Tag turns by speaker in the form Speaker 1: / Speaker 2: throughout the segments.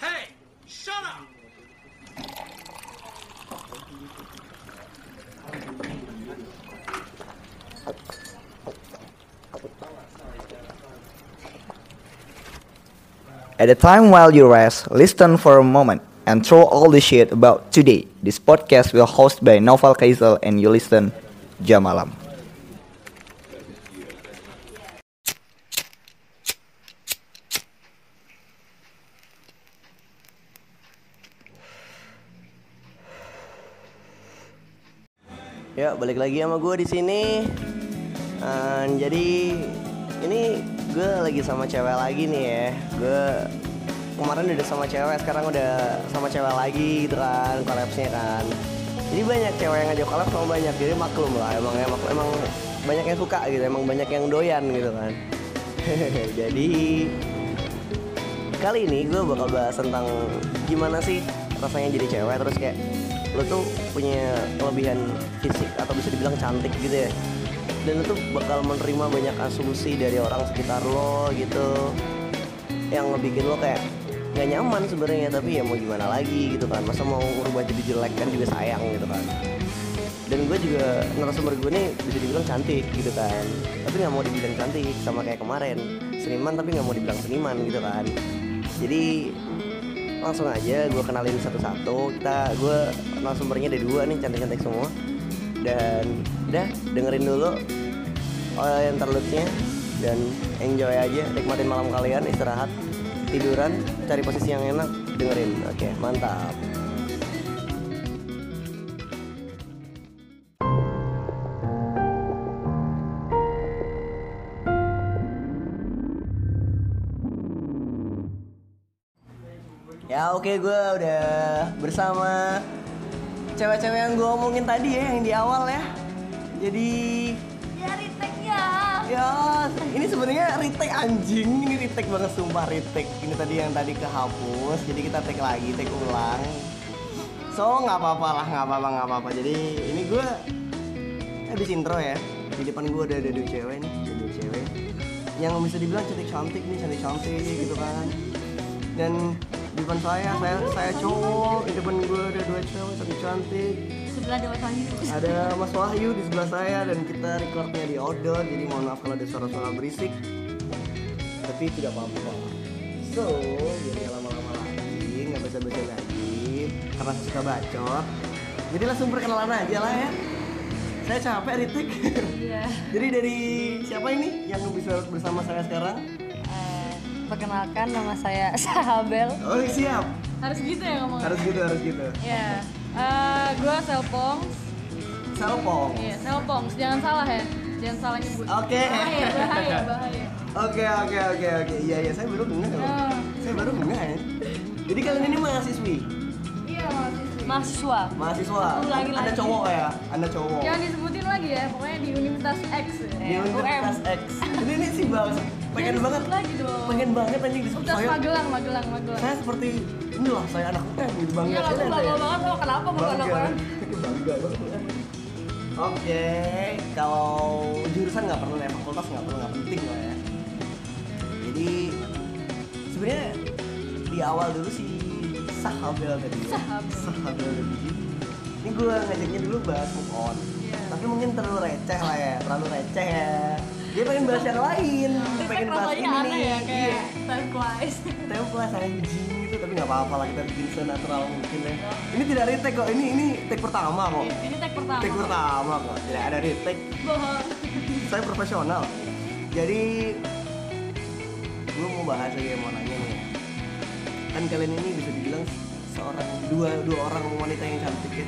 Speaker 1: Hey, shut up!
Speaker 2: At the time while you rest, listen for a moment and throw all the shit about today. This podcast will host by Novel Kaisel and you listen Jamalam.
Speaker 3: Ya balik lagi sama gue di sini. Eh, jadi ini gue lagi sama cewek lagi nih ya. Gue kemarin udah sama cewek, sekarang udah sama cewek lagi gitu kan, kolapsnya kan. Jadi banyak cewek yang ngajak kolaps sama banyak, jadi maklum lah. Emang emang emang banyak yang suka gitu, emang banyak yang doyan gitu kan. jadi kali ini gue bakal bahas tentang gimana sih rasanya jadi cewek terus kayak lo tuh punya kelebihan fisik atau bisa dibilang cantik gitu ya dan lo tuh bakal menerima banyak asumsi dari orang sekitar lo gitu yang ngebikin lo kayak gak nyaman sebenarnya tapi ya mau gimana lagi gitu kan masa mau berubah jadi jelek kan juga sayang gitu kan dan gue juga narasumber gue nih bisa dibilang cantik gitu kan tapi nggak mau dibilang cantik sama kayak kemarin seniman tapi nggak mau dibilang seniman gitu kan jadi langsung aja gue kenalin satu-satu kita gue narasumbernya ada dua nih cantik-cantik semua dan udah dengerin dulu oh, yang terlutnya dan enjoy aja nikmatin malam kalian istirahat tiduran cari posisi yang enak dengerin oke mantap Ya oke gue udah bersama cewek-cewek yang gue omongin tadi ya yang di awal ya. Jadi
Speaker 4: Ya retake ya.
Speaker 3: ya ini sebenarnya retake anjing ini retake banget sumpah retake ini tadi yang tadi kehapus jadi kita take lagi take ulang so nggak apa-apa lah nggak apa-apa nggak apa-apa jadi ini gue habis intro ya di depan gue udah ada dua cewek nih ada dua cewek yang bisa dibilang cantik cantik nih cantik cantik gitu kan dan di depan saya saya saya cowok di depan gue ada dua cewek cantik cantik
Speaker 4: Sebelah Dewa Sanju.
Speaker 3: ada Mas Wahyu di sebelah saya dan kita recordnya di outdoor jadi mohon maaf kalau ada suara-suara berisik tapi tidak apa-apa so jadi nggak lama-lama lagi nggak baca-baca lagi karena saya suka bacot jadi langsung perkenalan aja lah ya saya capek Ritik
Speaker 4: Iya.
Speaker 3: jadi dari siapa ini yang bisa bersama saya sekarang
Speaker 5: Eh, perkenalkan nama saya Sahabel.
Speaker 3: oh siap
Speaker 5: Harus gitu ya ngomong.
Speaker 3: harus gitu harus gitu
Speaker 5: Ya. Eh, gua Selpongs.
Speaker 3: Salpong
Speaker 5: Iya, Selpongs. Jangan salah ya. Jangan salah nyebut.
Speaker 3: Oke.
Speaker 5: Bahaya, bahaya, bahaya.
Speaker 3: Oke oke oke oke iya iya saya baru dengar loh.
Speaker 5: Ah.
Speaker 3: saya baru dengar jadi kalian ini mahasiswi
Speaker 4: Iya mahasiswi.
Speaker 5: Mahasiswa.
Speaker 3: mahasiswa
Speaker 5: Lagi-lagi.
Speaker 3: anda cowok ya anda cowok
Speaker 5: Jangan disebutin lagi Oh, ya. Pokoknya di Universitas X.
Speaker 3: di
Speaker 5: Ya.
Speaker 3: Universitas X jadi ini sih bang pengen
Speaker 5: Jangan
Speaker 3: banget
Speaker 5: disebut lagi dong.
Speaker 3: pengen banget anjing disebut
Speaker 5: Universitas
Speaker 3: saya
Speaker 5: Magelang, Magelang, Magelang.
Speaker 3: saya seperti inilah saya anak UM gitu bangga
Speaker 5: Iya, lah, gua
Speaker 3: Kalian
Speaker 5: bangga
Speaker 3: ya?
Speaker 5: banget sama kenapa gua
Speaker 3: Bangga.
Speaker 5: anak orang.
Speaker 3: Bangga banget. Oke, kalau jurusan nggak perlu ya, fakultas nggak perlu, nggak penting lah ya. Jadi sebenarnya di awal dulu si Sahabel tadi ya.
Speaker 5: Sahabel.
Speaker 3: Sahabel tadi. Ini gue ngajaknya dulu bahas move on.
Speaker 5: Iya.
Speaker 3: Tapi mungkin terlalu receh lah ya, terlalu receh ya. Dia pengen bahas yang lain,
Speaker 5: Tapi
Speaker 3: pengen bahas
Speaker 5: rasanya
Speaker 3: ini
Speaker 5: aneh
Speaker 3: nih.
Speaker 5: ya,
Speaker 3: Iya.
Speaker 5: kayak turquoise.
Speaker 3: Template anjing itu tapi nggak apa-apa lah kita bikin senatural mungkin ya. Ini tidak retake kok, ini ini take pertama kok.
Speaker 5: Ini tag pertama.
Speaker 3: Take pertama kok, tidak ada retake.
Speaker 5: Bohong.
Speaker 3: Saya profesional. Jadi gue mau bahas lagi yang mau nanya nih. ya. Kan kalian ini bisa dibilang seorang dua dua orang wanita yang cantik ya.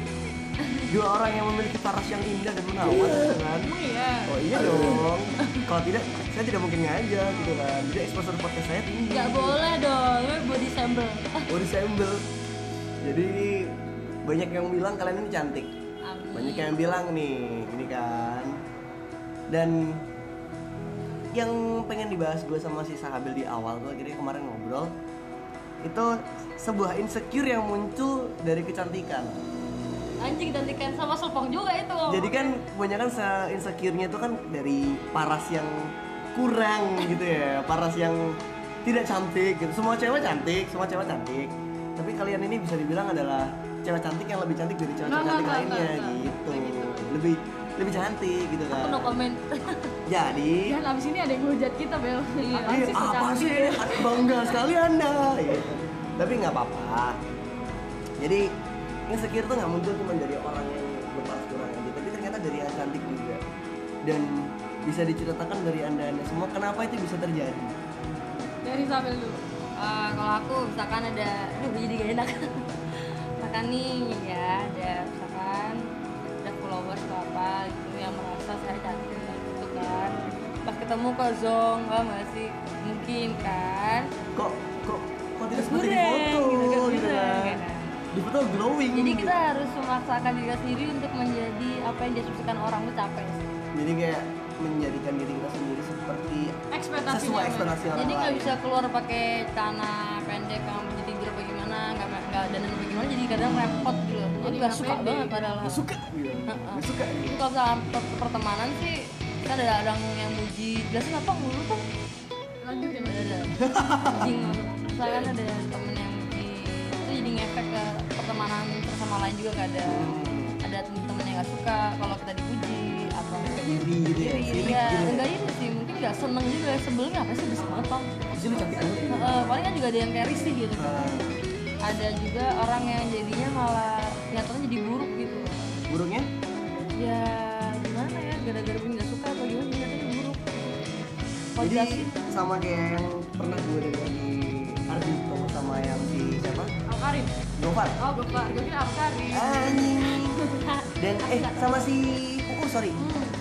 Speaker 3: Dua orang yang memiliki paras yang indah dan menawan gitu kan.
Speaker 5: Emang iya.
Speaker 3: Oh iya dong. Kalau tidak, saya tidak mungkin ngajak gitu kan. Jadi exposure podcast saya tinggi.
Speaker 5: Gak boleh dong, lu body sample.
Speaker 3: Body sembel. Jadi banyak yang bilang kalian ini cantik. Banyak yang bilang nih, ini kan. Dan yang pengen dibahas gue sama si Sahabil di awal gue akhirnya kemarin ngobrol itu sebuah insecure yang muncul dari kecantikan.
Speaker 5: Anjing gantikan sama selpong juga itu.
Speaker 3: Jadi kan kebanyakan se- insecure-nya itu kan dari paras yang kurang gitu ya paras yang tidak cantik gitu semua cewek cantik semua cewek cantik tapi kalian ini bisa dibilang adalah cewek cantik yang lebih cantik dari cewek
Speaker 5: Nggak,
Speaker 3: cantik
Speaker 5: nggak,
Speaker 3: lainnya
Speaker 5: nggak, nggak.
Speaker 3: gitu
Speaker 5: Nggak gitu.
Speaker 3: lebih lebih cantik gitu kan
Speaker 5: Aku Iya. no comment.
Speaker 3: jadi
Speaker 4: Dan abis ini ada yang ngehujat kita Bel
Speaker 5: Iya.
Speaker 4: Apaan
Speaker 3: Eh,
Speaker 4: sih so
Speaker 3: apa
Speaker 4: cantik?
Speaker 3: sih? Aduh, Bangga sekali Anda. Gitu. Tapi nggak apa-apa. Jadi insecure tuh nggak muncul cuma dari orang yang lepas kurang aja, tapi ternyata dari yang cantik juga. Dan bisa diceritakan dari anda anda semua kenapa itu bisa terjadi?
Speaker 5: Dari Isabel dulu. Eh, kalau aku misalkan ada, aduh gue jadi gak enak. misalkan nih ya ada misalkan ada followers atau apa gitu yang merasa saya cantik gitu kan. Pas ketemu kok Zong, paham gak sih? Mungkin kan.
Speaker 3: Kok kok kok tidak
Speaker 5: Terus
Speaker 3: seperti di
Speaker 5: goreng,
Speaker 3: foto
Speaker 5: gitu kan,
Speaker 3: gitu
Speaker 5: goreng,
Speaker 3: kan?
Speaker 5: kayak kan.
Speaker 3: Di foto glowing.
Speaker 5: Jadi
Speaker 3: gitu.
Speaker 5: kita harus memaksakan diri kita sendiri untuk menjadi apa yang diasumsikan orang itu capek.
Speaker 3: Jadi kayak menjadikan diri kita sendiri seperti
Speaker 5: Ekspektasi
Speaker 3: Sesuai ekspektasi orang
Speaker 5: Jadi nggak
Speaker 3: lain.
Speaker 5: bisa keluar pakai celana pendek yang jadi apa gimana, nggak nggak dan bagaimana. Jadi kadang repot gitu. loh.
Speaker 3: Oh,
Speaker 5: Jadi nggak suka banget padahal.
Speaker 3: nggak suka gitu.
Speaker 5: Heeh.
Speaker 3: Nggak suka gitu.
Speaker 5: Itu kalau misalnya per- pertemanan sih kan ada ada yang muji, jelasin apa mulu tuh?
Speaker 4: Lanjut ya Bel.
Speaker 5: Ada ada. Anjing. Misalkan kan ada temen yang muji, itu jadi ngefek ke pertemanan bersama lain juga kadang. Ada temen-temen yang nggak suka kalau kita dipuji apa
Speaker 3: Iri gitu ya. Iri
Speaker 5: Iya,
Speaker 3: gitu.
Speaker 5: enggak iri sih, mungkin enggak seneng juga ya, sebelumnya apa sih bisa banget Pam.
Speaker 3: Abis itu cantik banget. gitu.
Speaker 5: Heeh, paling kan juga ada yang carry sih gitu kan.
Speaker 3: Nah,
Speaker 5: Ada juga orang yang jadinya malah nyatanya jadi buruk gitu.
Speaker 3: burungnya
Speaker 5: Ya gimana ya, gara-gara gue nggak suka atau gimana jadi nyatanya buruk. Kalau
Speaker 3: jadi
Speaker 5: dikasih-
Speaker 3: sama kayak yang pernah gue dengar di Ardi Thomas sama yang si siapa
Speaker 4: Alkarim
Speaker 3: Gofar
Speaker 4: Oh gue kira gue kira Alkarim
Speaker 3: anjing dan eh sama si Uus sorry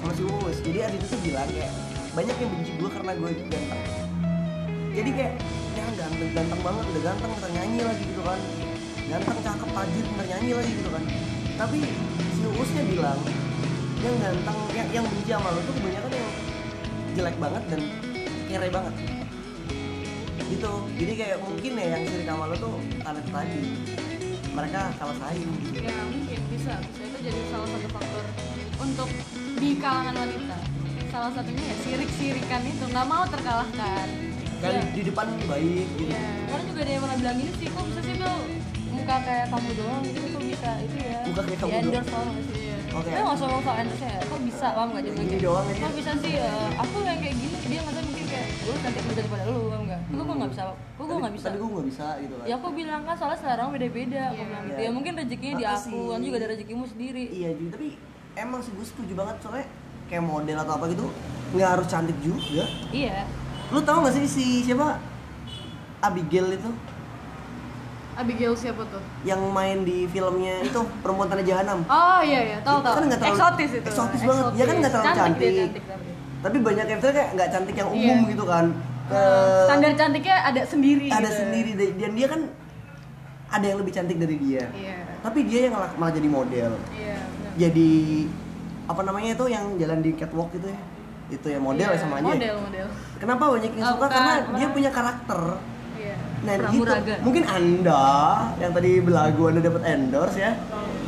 Speaker 3: sama si Uus jadi Ardi itu bilang kayak banyak yang benci gue karena gue ganteng jadi kayak ya ganteng ganteng banget udah ganteng ntar nyanyi lagi gitu kan ganteng cakep tajir ntar nyanyi lagi gitu kan tapi si Uusnya bilang yang ganteng yang, yang benci sama lo tuh kebanyakan yang jelek banget dan kere banget gitu jadi kayak mungkin ya yang sirik sama lo tuh ada tadi mereka kalah saing gitu
Speaker 4: Ya mungkin bisa Bisa itu jadi salah satu faktor Untuk di kalangan wanita Salah satunya ya sirik-sirikan itu Gak mau terkalahkan Ya,
Speaker 3: kan
Speaker 5: Iya.
Speaker 3: di depan baik gitu
Speaker 4: Iya
Speaker 5: Orang juga ada yang pernah bilang gini sih, kok bisa sih Bel muka kayak kamu doang gitu kok bisa itu ya
Speaker 3: Muka kayak kamu
Speaker 5: di endorse doang nggak sih ya.
Speaker 4: Iya
Speaker 3: oke
Speaker 5: Tapi nggak usah ngomong soal endorse ya, kok bisa paham nggak jadi
Speaker 3: Ini doang aja.
Speaker 5: Kok bisa sih, eh, aku yang kayak gini, dia nggak mungkin kayak gue cantik lebih daripada lu, paham nggak? Kok gue nggak bisa, kok gue
Speaker 3: Tadi-
Speaker 5: nggak bisa
Speaker 3: tadi gue nggak bisa gitu kan
Speaker 5: Ya aku bilang kan soalnya selera orang beda-beda, aku bilang gitu.
Speaker 3: Iya.
Speaker 5: Ya mungkin rezekinya di
Speaker 3: Makasih.
Speaker 5: aku, kan juga ada rezekimu sendiri.
Speaker 3: iya jadi tapi emang sih gue setuju banget soalnya kayak model atau apa gitu nggak harus cantik juga
Speaker 5: Iya.
Speaker 3: lu tau gak sih si siapa Abigail itu
Speaker 4: Abigail siapa tuh?
Speaker 3: yang main di filmnya itu perempuan tanah jahanam
Speaker 4: Oh iya iya,
Speaker 3: Itu
Speaker 4: tahu tahu.
Speaker 3: kan nggak terlalu-
Speaker 4: eksotis itu.
Speaker 3: eksotis banget. Dia kan nggak terlalu
Speaker 4: dia,
Speaker 3: cantik.
Speaker 4: cantik tapi.
Speaker 3: tapi banyak yang misalnya kayak nggak cantik yang umum
Speaker 4: Iya.
Speaker 3: gitu kan
Speaker 4: Nah,
Speaker 3: Eh,
Speaker 4: standar cantiknya ada sendiri.
Speaker 3: ada
Speaker 4: gitu.
Speaker 3: sendiri deh. dan dia kan ada yang lebih cantik dari dia
Speaker 4: Iya.
Speaker 3: tapi dia yang malah malah jadi model
Speaker 4: Iya, benar.
Speaker 3: jadi apa namanya itu yang jalan di catwalk itu ya itu ya model ya
Speaker 4: Iya,
Speaker 3: sama aja ya?
Speaker 4: Model, model.
Speaker 3: kenapa banyak yang
Speaker 4: Oh,
Speaker 3: suka
Speaker 4: bukan,
Speaker 3: karena
Speaker 4: bukan.
Speaker 3: dia punya karakter
Speaker 4: Iya.
Speaker 3: nah gitu
Speaker 5: Pramuraga.
Speaker 3: mungkin anda yang tadi belagu anda dapat endorse ya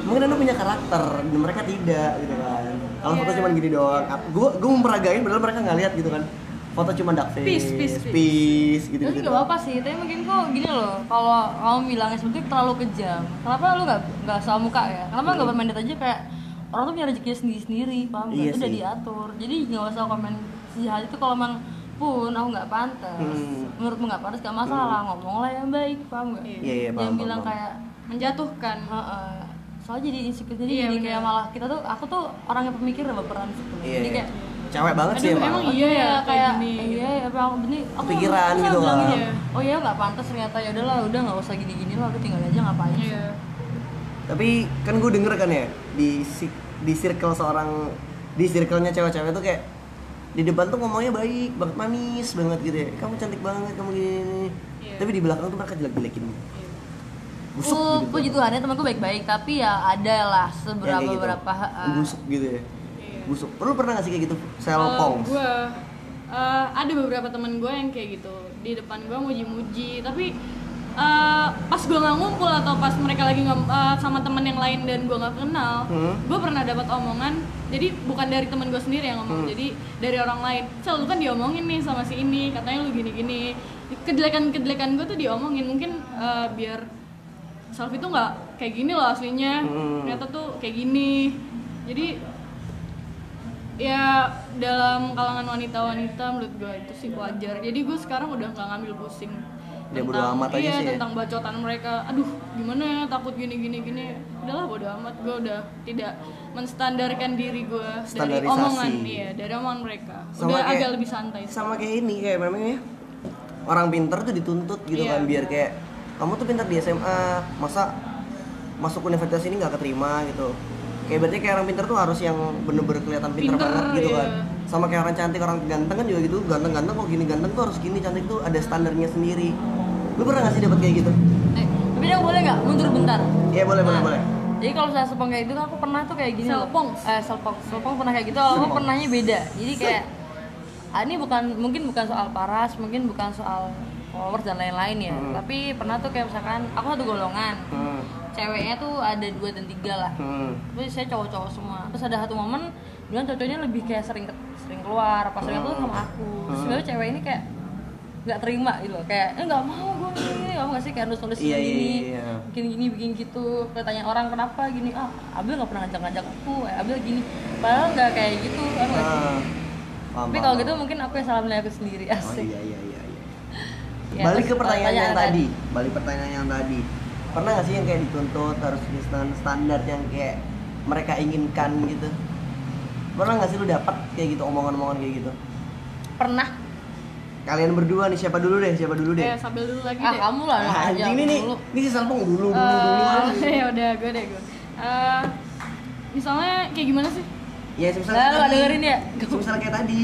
Speaker 3: mungkin anda punya karakter dan mereka tidak gitu kan kalau foto
Speaker 4: Iya.
Speaker 3: cuma gini doang Ap- gua gua memperagain padahal mereka nggak lihat gitu kan foto cuma dark face
Speaker 4: Peace, peace, peace.
Speaker 3: gitu
Speaker 5: Tapi
Speaker 3: gitu
Speaker 5: nggak apa-apa sih, tapi mungkin kok gini loh, kalau kamu bilangnya seperti itu terlalu kejam. Kenapa lu nggak nggak soal muka ya? Kenapa nggak bermain data aja kayak orang tuh punya rezekinya sendiri-sendiri, paham nggak?
Speaker 3: Iya
Speaker 5: itu udah
Speaker 3: sih.
Speaker 5: diatur. Jadi nggak usah komen sejahat itu kalau emang pun aku nggak pantas,
Speaker 3: Hmm.
Speaker 5: menurutmu nggak pantas gak masalah, ngomong lah yang baik, paham nggak?
Speaker 3: Iya, iya, paham,
Speaker 5: Jangan bilang
Speaker 3: paham,
Speaker 5: kayak
Speaker 4: Menjatuhkan.
Speaker 5: Heeh. soalnya jadi insecure jadi,
Speaker 4: Iya,
Speaker 5: jadi
Speaker 4: benar.
Speaker 5: kayak malah kita tuh aku tuh orang yang pemikir dan baperan gitu
Speaker 3: Iya,
Speaker 5: jadi
Speaker 3: iya.
Speaker 5: kayak
Speaker 3: cewek banget sih
Speaker 4: Aduh,
Speaker 3: emang,
Speaker 4: emang
Speaker 5: iya ya kayak
Speaker 4: kayak gini.
Speaker 5: iya ya bang ini aku
Speaker 3: Kepikiran
Speaker 5: aku
Speaker 3: gitu
Speaker 5: bilang
Speaker 3: lah.
Speaker 5: gini, oh iya nggak pantas ternyata ya udahlah udah nggak usah gini gini lah aku tinggal aja ngapain sih?"
Speaker 4: Iya.
Speaker 3: tapi kan gue denger kan ya di si- di circle seorang di circle-nya cewek-cewek tuh kayak di depan tuh ngomongnya baik banget manis banget gitu ya kamu cantik banget kamu gini, gini.
Speaker 4: Iya.
Speaker 3: tapi di belakang tuh mereka jelek-jelekin busuk
Speaker 5: Pu-
Speaker 3: gitu
Speaker 5: puji Tuhan ya temanku baik-baik tapi ya ada lah eh,
Speaker 3: Ya,
Speaker 5: seberapa
Speaker 3: kayak gitu.
Speaker 5: berapa heeh.
Speaker 3: busuk gitu ya
Speaker 4: Iya. Eh,
Speaker 3: busuk lu pernah gak sih kayak gitu
Speaker 4: Kalau
Speaker 3: selpong
Speaker 4: gue eh, ada beberapa teman gue yang kayak gitu di depan gue muji-muji tapi eh, pas gue nggak ngumpul atau pas mereka lagi nggak- eh, sama temen yang lain dan gue nggak kenal, gue pernah dapat omongan. Jadi bukan dari temen gue sendiri yang ngomong, jadi dari orang lain. Sel, lu kan diomongin nih sama si ini, katanya lu gini-gini. Kejelekan-kejelekan gue tuh diomongin, mungkin eh, biar selfie tuh nggak kayak gini loh aslinya.
Speaker 3: Hmm.
Speaker 4: Ternyata tuh kayak gini. Jadi ya dalam kalangan wanita-wanita menurut gue itu sih wajar jadi gue sekarang udah nggak ngambil pusing
Speaker 3: Dia bodo
Speaker 4: Tentang-
Speaker 3: amat aja
Speaker 4: iya,
Speaker 3: sih ya?
Speaker 4: tentang bacotan mereka aduh gimana ya takut gini gini gini udahlah bodo amat gue udah tidak menstandarkan diri gue dari
Speaker 3: Standarisasi.
Speaker 4: omongan iya dari omongan mereka
Speaker 3: Sama
Speaker 4: udah
Speaker 3: kayak-
Speaker 4: agak lebih santai sih.
Speaker 3: sama kayak ini kayak namanya ya. orang pinter tuh dituntut gitu
Speaker 4: Iya,
Speaker 3: kan biar kayak kamu tuh pintar di SMA masa masuk universitas ini nggak keterima gitu kayak berarti kayak orang pinter tuh harus yang bener-bener kelihatan pinter,
Speaker 4: Pinter,
Speaker 3: banget gitu kan
Speaker 4: iya.
Speaker 3: sama kayak orang cantik orang ganteng kan juga gitu ganteng-ganteng kok gini ganteng tuh harus gini cantik tuh ada standarnya sendiri lu pernah nggak sih dapat kayak gitu
Speaker 5: Eh, tapi dong boleh nggak mundur bentar?
Speaker 3: Iya boleh boleh
Speaker 5: Nah,
Speaker 3: boleh
Speaker 5: Jadi kalau saya sepong kayak gitu, aku pernah tuh kayak gini loh.
Speaker 4: Selpong.
Speaker 5: Eh, selpong. Selpong pernah kayak gitu, aku pernahnya beda. Jadi kayak, ah, ini bukan, mungkin bukan soal paras, mungkin bukan soal followers dan lain-lain ya. Tapi pernah tuh kayak misalkan, aku satu golongan.
Speaker 3: hmm.
Speaker 5: Ceweknya tuh ada dua dan tiga lah.
Speaker 3: Hmm.
Speaker 5: Terus saya cowok-cowok semua. Terus ada satu momen, bilang cowoknya lebih kayak sering ke- sering keluar, pas sering tuh sama aku. Terus
Speaker 3: Hmm.
Speaker 5: sebenarnya cewek ini kayak nggak terima gitu loh kayak eh nggak mau gue ini kamu nggak sih kayak nulis nulis
Speaker 3: Iya, iya,
Speaker 5: gini
Speaker 3: iya.
Speaker 5: bikin gini bikin gitu Kayak tanya orang kenapa gini ah Abel nggak pernah ngajak ngajak aku eh, Abel gini padahal nggak kayak gitu aku nggak sih?
Speaker 3: Ah. Paham,
Speaker 5: tapi
Speaker 3: paham,
Speaker 5: kalau
Speaker 3: paham.
Speaker 5: gitu mungkin aku yang salah menilai aku sendiri
Speaker 3: Oh
Speaker 5: asik
Speaker 3: iya iya iya. iya.
Speaker 5: Ya,
Speaker 3: balik ke
Speaker 4: eh,
Speaker 5: terus
Speaker 3: pertanyaan yang
Speaker 5: pertanyaan
Speaker 3: tadi. Balik pertanyaan yang tadi. Pernah nggak sih yang kayak dituntut harus di stan- standar yang kayak mereka inginkan gitu? Pernah nggak sih lu dapat kayak gitu omongan-omongan kayak gitu?
Speaker 5: pernah
Speaker 3: Kalian berdua nih siapa dulu deh? Siapa dulu deh?
Speaker 4: eh sambil dulu lagi
Speaker 5: ah
Speaker 4: deh
Speaker 5: kamu lah
Speaker 3: Ah,
Speaker 5: aja
Speaker 3: anjing ini nih,
Speaker 5: dulu.
Speaker 3: ini si Salpong dulu dulu dulu.
Speaker 4: Eh, ya udah gue deh gue Eh, misalnya kayak gimana sih
Speaker 3: Ya semisal
Speaker 5: Lah, lu nggak dengerin ya?
Speaker 3: Semisal kayak tadi,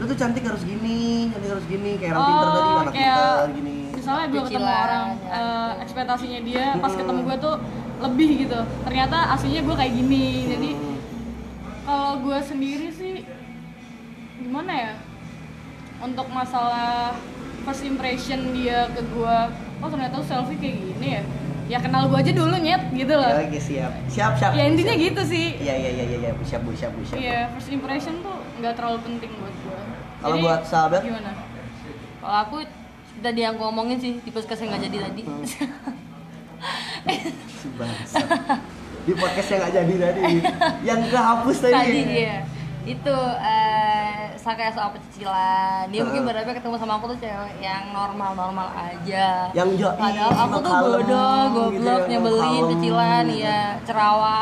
Speaker 3: lu tuh cantik harus gini, cantik harus gini, kayak orang pinter tadi,
Speaker 4: Oh,
Speaker 3: anak
Speaker 4: kayak
Speaker 3: pinter gini.
Speaker 4: misalnya gue ketemu
Speaker 5: Kecilan,
Speaker 4: orang
Speaker 5: ya,
Speaker 4: eh, ekspektasinya dia pas
Speaker 3: Hmm.
Speaker 4: ketemu gue tuh lebih gitu ternyata aslinya gue kayak gini jadi
Speaker 3: Hmm.
Speaker 4: kalau gue sendiri sih gimana ya untuk masalah first impression dia ke gue oh ternyata lu selfie kayak gini ya ya kenal gue aja dulu nyet gitu
Speaker 3: Ya,
Speaker 4: loh
Speaker 3: oke siap. Siap, siap.
Speaker 4: ya intinya
Speaker 3: siap.
Speaker 4: gitu sih
Speaker 3: Iya iya iya iya iya siap bu siap bu siap. Bu.
Speaker 4: iya first impression tuh nggak terlalu penting buat gue
Speaker 3: Kalau buat sahabat?
Speaker 4: gimana
Speaker 5: kalau aku seperti tadi yang aku omongin sih tipe kesel nggak jadi tadi
Speaker 3: Hmm. Si bangsat. Di podcast yang nggak jadi tadi, yang kehapus tadi.
Speaker 5: tadi iya. dia itu eh saya kayak soal pecicilan dia mungkin
Speaker 3: Heeh.
Speaker 5: berharap ketemu sama aku tuh cewek yang normal normal aja
Speaker 3: Yang joi,
Speaker 5: padahal aku tuh
Speaker 3: kalem,
Speaker 5: bodoh
Speaker 3: gitu
Speaker 5: goblok
Speaker 3: ya,
Speaker 5: nyebelin
Speaker 3: kalem,
Speaker 5: pecilan
Speaker 3: gitu.
Speaker 5: ya cerawa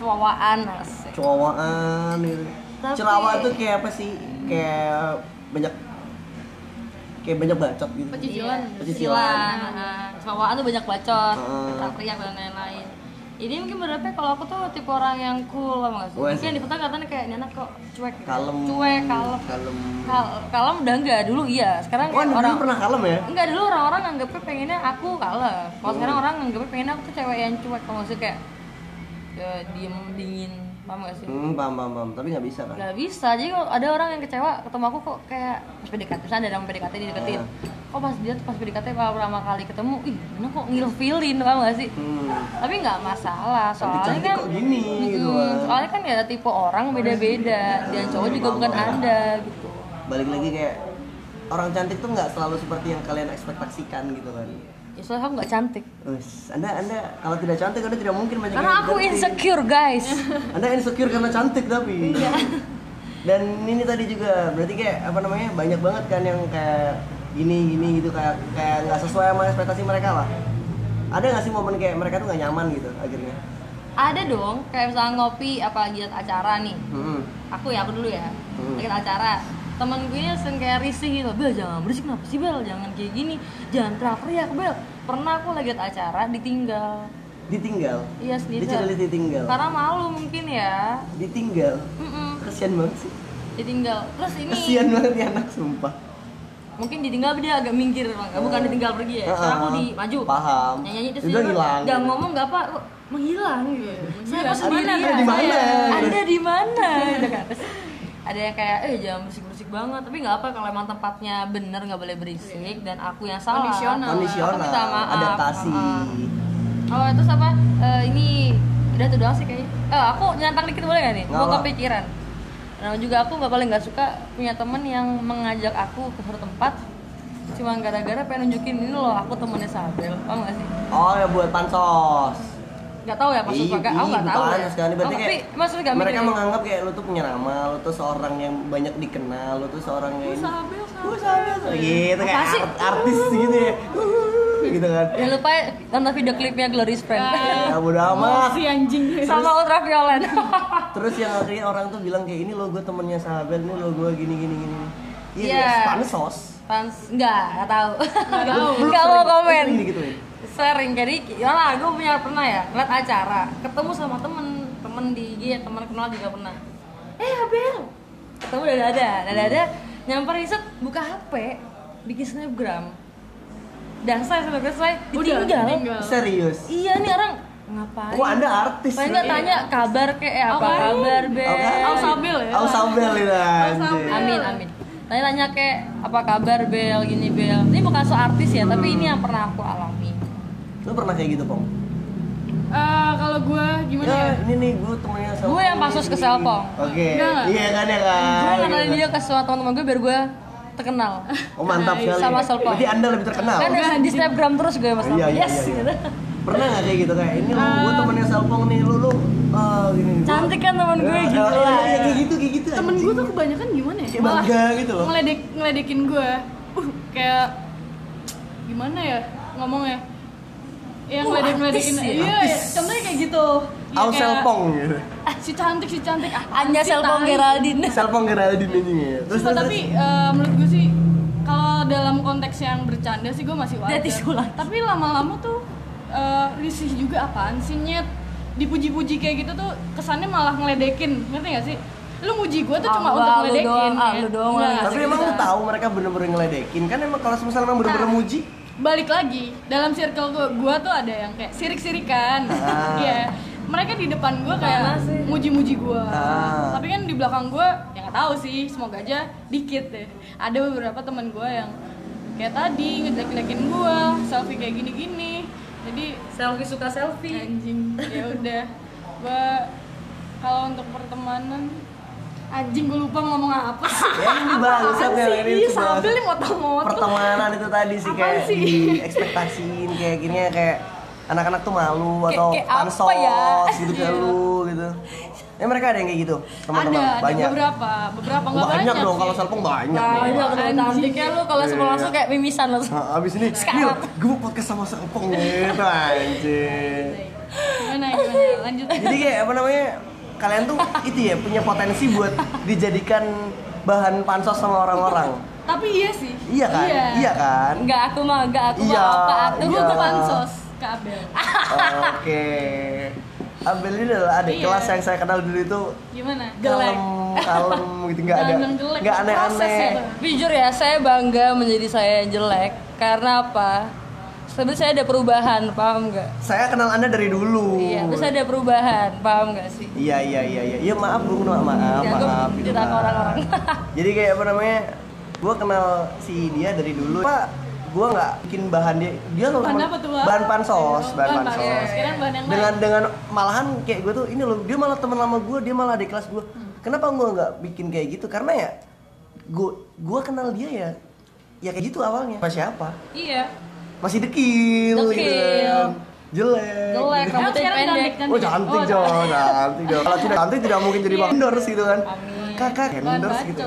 Speaker 5: cowaan asik.
Speaker 3: Cowaan gitu.
Speaker 5: Tapi-
Speaker 3: Celawa itu kayak apa sih? Kayak banyak kayak banyak bacot gitu.
Speaker 4: Pecicilan.
Speaker 5: Iya,
Speaker 3: Pecicilan.
Speaker 5: pecicilan heeh. cowaan tuh banyak bacot
Speaker 3: Heeh.
Speaker 5: teriak dan lain-lain ini mungkin berapa kalau aku tuh tipe orang yang cool sama gak sih?
Speaker 3: Wes.
Speaker 5: Mungkin di kota katanya kayak ini anak kok cuek gitu.
Speaker 3: Kalem.
Speaker 5: Cuek, kalem
Speaker 3: Kalem.
Speaker 5: Kal- kalem udah enggak dulu iya sekarang
Speaker 3: Oh,
Speaker 5: kayak
Speaker 3: dulu
Speaker 5: orang
Speaker 3: pernah kalem ya?
Speaker 5: enggak dulu orang-orang nganggepnya pengennya aku kalem kalau sekarang orang nganggepnya pengennya aku tuh cewek yang cuek kalau maksudnya kayak ya, diem dingin paham gak sih
Speaker 3: Hmm, paham paham paham, tapi nggak bisa kan?
Speaker 5: nggak bisa jadi kalau ada orang yang kecewa ketemu aku kok kayak pas PDKT misalnya ada orang PDKT dia deketin
Speaker 3: Hmm.
Speaker 5: kok pas dia tuh pas PDKT pertama kali ketemu ih mana kok ngilfilin paham gak sih
Speaker 3: Hmm.
Speaker 5: tapi nggak masalah soalnya
Speaker 3: Cantik-cantik
Speaker 5: kan
Speaker 3: kok gini, gitu
Speaker 5: Mm,
Speaker 3: kan.
Speaker 5: soalnya kan ya tipe orang beda-beda dan cowok juga bukan anda gitu
Speaker 3: Balik lagi kayak orang cantik tuh nggak selalu seperti yang kalian ekspektasikan gitu kan.
Speaker 5: ya soalnya aku nggak cantik
Speaker 3: Wes, anda anda kalau tidak cantik anda tidak mungkin banyak
Speaker 5: Karena
Speaker 3: yang
Speaker 5: aku
Speaker 3: cantik.
Speaker 5: insecure Iya. guys.
Speaker 3: Anda insecure karena cantik tapi. Dan ini tadi juga berarti kayak apa namanya banyak banget kan yang kayak gini gini gitu kayak kayak nggak sesuai sama ekspektasi mereka lah. Ada nggak sih momen kayak mereka tuh nggak nyaman gitu akhirnya?
Speaker 5: Ada dong, kayak misalnya ngopi apa giat acara nih.
Speaker 3: Hmm.
Speaker 5: Aku ya, aku dulu ya.
Speaker 3: Hmm.
Speaker 5: Giat acara. Temen gue ini sering kayak risih gitu, Bel jangan berisik kenapa sih Bel, jangan kayak gini, jangan teriak-teriak Bel. Pernah aku lagi giat acara ditinggal.
Speaker 3: Ditinggal.
Speaker 5: Iya sendiri.
Speaker 3: Dicelit ditinggal.
Speaker 5: Karena malu mungkin ya.
Speaker 3: Ditinggal.
Speaker 5: Mm-mm,
Speaker 3: Kasian banget sih.
Speaker 5: ditinggal. Terus ini
Speaker 3: Kasian banget nih anak sumpah.
Speaker 5: mungkin ditinggal dia agak minggir, Bang. bukan ditinggal pergi ya. Karena aku
Speaker 3: Heeh.
Speaker 5: di maju.
Speaker 3: Paham.
Speaker 5: Nyanyi terus
Speaker 3: Udah
Speaker 5: dia
Speaker 3: hilang.
Speaker 5: nggak ngomong nggak apa, kok menghilang gitu. Saya
Speaker 4: Iya,
Speaker 5: pas sendiri.
Speaker 3: Anda di mana?
Speaker 5: Anda di mana? Gitu kan. Terus ada yang kayak eh jangan berisik berisik banget tapi nggak apa kalau emang tempatnya bener nggak boleh berisik dan aku yang salah
Speaker 4: Kondisional.
Speaker 5: aku minta maaf
Speaker 3: adaptasi.
Speaker 5: Heeh. Oh terus apa? Eh, ini udah tuh doang sih kayaknya. Eh aku nyantang dikit boleh gak nih?
Speaker 3: Nggak
Speaker 5: Gue
Speaker 3: apa.
Speaker 5: kepikiran. Nah juga aku nggak paling nggak suka punya temen yang mengajak aku ke suatu tempat cuma gara-gara pengen nunjukin ini loh aku temennya Sabel, paham gak sih?
Speaker 3: Oh, ya buat pansos.
Speaker 5: Gak tahu ya maksud
Speaker 3: Ih,
Speaker 5: apa? Aku
Speaker 3: ih,
Speaker 5: nggak tahu.
Speaker 3: bukan,
Speaker 5: ya.
Speaker 3: sekali.
Speaker 5: Oh,
Speaker 3: Berarti
Speaker 5: tapi
Speaker 3: kayak
Speaker 5: maksudnya gak
Speaker 3: mereka
Speaker 5: mikir ya?
Speaker 3: menganggap kayak lu tuh penyerama, lu tuh seorang yang banyak dikenal, lu tuh seorang yang ini.
Speaker 4: Sabel,
Speaker 3: Gue
Speaker 4: Sabel.
Speaker 3: sama gitu
Speaker 5: Apa
Speaker 3: kayak
Speaker 5: sih?
Speaker 3: art- artis gitu ya. gitu kan.
Speaker 5: Jangan lupa ya, nonton video klipnya Glory's Friend
Speaker 4: Ah,
Speaker 3: Ya bodo amat.
Speaker 4: Iya. Si anjing.
Speaker 5: sama Ultraviolet.
Speaker 3: Terus yang akhirnya orang tuh bilang kayak ini lo gue temennya sahabat, ini lo gue gini gini gini. Iya,
Speaker 5: Iya.
Speaker 3: yeah. pansos.
Speaker 5: Fans nggak, nggak tahu.
Speaker 4: Nggak tahu.
Speaker 3: Lu
Speaker 5: Nggak mau
Speaker 3: sering- lu
Speaker 5: komen.
Speaker 3: sering gitu ya. digituin?
Speaker 5: sering jadi ya lah gue punya pernah ya ngeliat acara ketemu sama temen temen di IG temen kenal juga pernah eh Abel ketemu dada dada dada dada nyamper riset buka HP bikin snapgram dan saya selesai selesai
Speaker 4: Udah,
Speaker 5: ditinggal
Speaker 4: ditinggal.
Speaker 3: Serius.
Speaker 5: iya nih orang
Speaker 3: Wah,
Speaker 5: ngapain
Speaker 3: Oh, Anda artis.
Speaker 5: paling nggak
Speaker 3: Iya.
Speaker 5: tanya kabar kayak eh, apa
Speaker 4: Apaan?
Speaker 5: kabar Bel
Speaker 3: Apaan?
Speaker 4: Oh, Sabel ya.
Speaker 3: Oh, Sabel itu
Speaker 4: Sabel.
Speaker 3: anjing.
Speaker 5: Amin amin. Tanya tanya kayak apa kabar Bel gini Bel. Ini bukan soal artis ya, tapi ini yang pernah aku alami.
Speaker 3: Lu pernah kayak gitu, Pong?
Speaker 4: Eh, kalau gue gimana ya?
Speaker 3: Ya, ini nih gue temennya Sabel.
Speaker 5: Gue yang pasus ke Selpong.
Speaker 3: Oke.
Speaker 4: Enggak, enggak.
Speaker 3: Iya kan ya kan.
Speaker 5: Gue kenalin
Speaker 3: Gitu.
Speaker 5: dia ke semua teman-teman gue biar gue terkenal.
Speaker 3: Oh,
Speaker 4: Nah,
Speaker 3: mantap sekali.
Speaker 5: Sama Selpong.
Speaker 3: Jadi Anda lebih terkenal.
Speaker 4: Eh.
Speaker 5: Kan di- di Snapgram terus gue mas.
Speaker 3: Ah, Iya, iya,
Speaker 5: yes
Speaker 3: iya, iya.
Speaker 5: gitu.
Speaker 3: Pernah nggak kayak gitu kayak ini lo
Speaker 4: Eh.
Speaker 3: gue temennya Selpong nih, lu lu eh, gini. gini.
Speaker 5: Cantik kan teman gue
Speaker 3: Eh,
Speaker 5: gitu
Speaker 3: eh,
Speaker 5: lah.
Speaker 3: Iya, kayak gitu, kayak gitu.
Speaker 4: Temen gue tuh kebanyakan gimana ya?
Speaker 3: Kayak bangga gitu loh.
Speaker 4: Ngeledek, ngeledekin gue. Uh, kayak gimana ya ngomongnya? Yang
Speaker 5: Oh,
Speaker 4: ngeledek ngeledekin.
Speaker 5: artis ya?
Speaker 4: Iya, iya, contohnya kayak gitu. Ya,
Speaker 3: Au
Speaker 4: kayak,
Speaker 3: Selpong gitu.
Speaker 4: "Ah, Si cantik, si cantik. Ah,
Speaker 5: Anja
Speaker 4: si
Speaker 5: Selpong
Speaker 4: tai."
Speaker 5: Geraldine.
Speaker 3: Selpong Geraldine anjing ya. Terus
Speaker 4: Sumpah,
Speaker 3: terus,
Speaker 4: tapi eh, menurut gue sih kalau dalam konteks yang bercanda sih gue masih wajar.
Speaker 5: That is polite.
Speaker 4: Tapi lama-lama tuh eh, risih juga apaan sih nyet dipuji-puji kayak gitu tuh kesannya malah ngeledekin ngerti gak sih? Lu muji gue tuh
Speaker 5: Ah,
Speaker 4: cuma
Speaker 5: gua,
Speaker 4: untuk
Speaker 5: lu
Speaker 4: ngeledekin.
Speaker 5: doang, ah,
Speaker 4: Nyet.
Speaker 5: lu doang
Speaker 4: Nggak,
Speaker 5: lah.
Speaker 3: tapi
Speaker 5: Asik
Speaker 3: emang lu
Speaker 5: kita.
Speaker 3: tahu mereka bener-bener ngeledekin kan emang kalau misalnya emang bener-bener
Speaker 4: Nah.
Speaker 3: muji
Speaker 4: balik lagi dalam circle gue gue tuh ada yang kayak sirik-sirikan
Speaker 3: Ah.
Speaker 4: Iya. mereka di depan gue
Speaker 5: Mana
Speaker 4: kayak
Speaker 5: sih?
Speaker 4: muji-muji gue
Speaker 3: Ah.
Speaker 4: tapi kan di belakang gue ya nggak tahu sih semoga aja dikit deh ada beberapa teman gue yang kayak tadi ngejelek-jelekin gue selfie kayak gini-gini jadi
Speaker 5: Selfie suka selfie.
Speaker 4: anjing ya udah gue kalau untuk pertemanan anjing gue lupa ngomong apa sih
Speaker 3: ya ini bangsat ya ini
Speaker 4: Iya,
Speaker 3: tuh
Speaker 4: sambil
Speaker 3: bangsat.
Speaker 4: nih motong-motong
Speaker 3: pertemanan itu tadi sih
Speaker 4: Apaan
Speaker 3: kayak
Speaker 4: sih?
Speaker 3: diekspektasiin kayak gini ya, kayak anak-anak tuh malu atau
Speaker 5: kayak apa
Speaker 3: pansos
Speaker 5: ya?
Speaker 3: gitu kayak
Speaker 4: Iya.
Speaker 3: lu gitu ya mereka ada yang kayak gitu teman-teman
Speaker 4: ada,
Speaker 3: banyak
Speaker 4: ada beberapa, beberapa nggak
Speaker 3: banyak,
Speaker 4: banyak,
Speaker 3: dong
Speaker 4: sih. iya.
Speaker 3: kalau selpong banyak
Speaker 5: Nah,
Speaker 3: dong.
Speaker 5: udah ketemu
Speaker 4: Anjing.
Speaker 5: cantiknya lu
Speaker 3: Iya,
Speaker 5: kalau sebelum langsung kayak mimisan lu.
Speaker 3: Nah, abis ini, Mil, gue mau podcast sama selpong gitu anjir
Speaker 4: Gimana, gimana? Lanjut.
Speaker 3: Jadi kayak apa namanya? Kalian tuh itu ya punya potensi buat dijadikan bahan pansos sama orang-orang.
Speaker 4: Tapi iya sih.
Speaker 3: Iya kan?
Speaker 4: Iya. Ah,
Speaker 3: Iya kan?
Speaker 5: Enggak aku mah, enggak aku
Speaker 3: Iya,
Speaker 5: mah apa aku
Speaker 4: Gue
Speaker 3: iya.
Speaker 4: ke pansos ke Abel.
Speaker 3: Oke. Abel ini adalah adik
Speaker 4: Iya.
Speaker 3: kelas yang saya kenal dulu itu
Speaker 4: Gimana?
Speaker 3: kalem,
Speaker 4: Gelek.
Speaker 3: kalem gitu nggak ada,
Speaker 4: Jangan gelek,
Speaker 3: nggak
Speaker 4: proses
Speaker 3: aneh-aneh.
Speaker 4: itu.
Speaker 5: Jujur ya, saya bangga menjadi saya yang jelek Karena apa? Sebenarnya saya ada perubahan, paham nggak?
Speaker 3: Saya kenal anda dari dulu.
Speaker 5: Iya, terus ada perubahan, paham nggak sih?
Speaker 3: Iya iya iya iya. Iya maaf bung, maaf maaf.
Speaker 4: Iya,
Speaker 5: Ya, gua
Speaker 3: maaf
Speaker 5: cerita ke
Speaker 3: Pak.
Speaker 5: orang-orang.
Speaker 3: Jadi kayak apa namanya? Gue kenal si dia dari dulu. Pak, gue nggak bikin bahan dia. Dia loh
Speaker 4: Bahan
Speaker 3: temen-
Speaker 4: apa tuh, Wak?
Speaker 3: Bahan pansos,
Speaker 4: Ayo,
Speaker 3: bahan
Speaker 4: bahan
Speaker 3: pansos.
Speaker 4: pansos. Kirain bahan yang lain.
Speaker 3: dengan dengan malahan kayak gue tuh ini loh dia malah teman lama gue dia malah adik kelas gue
Speaker 5: Hmm.
Speaker 3: kenapa gue nggak bikin kayak gitu karena ya gue gue kenal dia ya ya kayak gitu awalnya pas siapa
Speaker 5: Iya.
Speaker 3: masih dekil,
Speaker 5: Dekil.
Speaker 3: gitu kan. jelek
Speaker 5: Jelek,
Speaker 4: Emang
Speaker 5: rambutnya
Speaker 4: sekarang
Speaker 5: pendek.
Speaker 4: cantik, cantik.
Speaker 3: Oh cantik
Speaker 4: Oh,
Speaker 3: dong, cantik dong. Kalau tidak cantik tidak mungkin jadi
Speaker 5: Iya.
Speaker 3: bang endorse gitu kan. Kakak endorse
Speaker 4: bacol.
Speaker 3: gitu.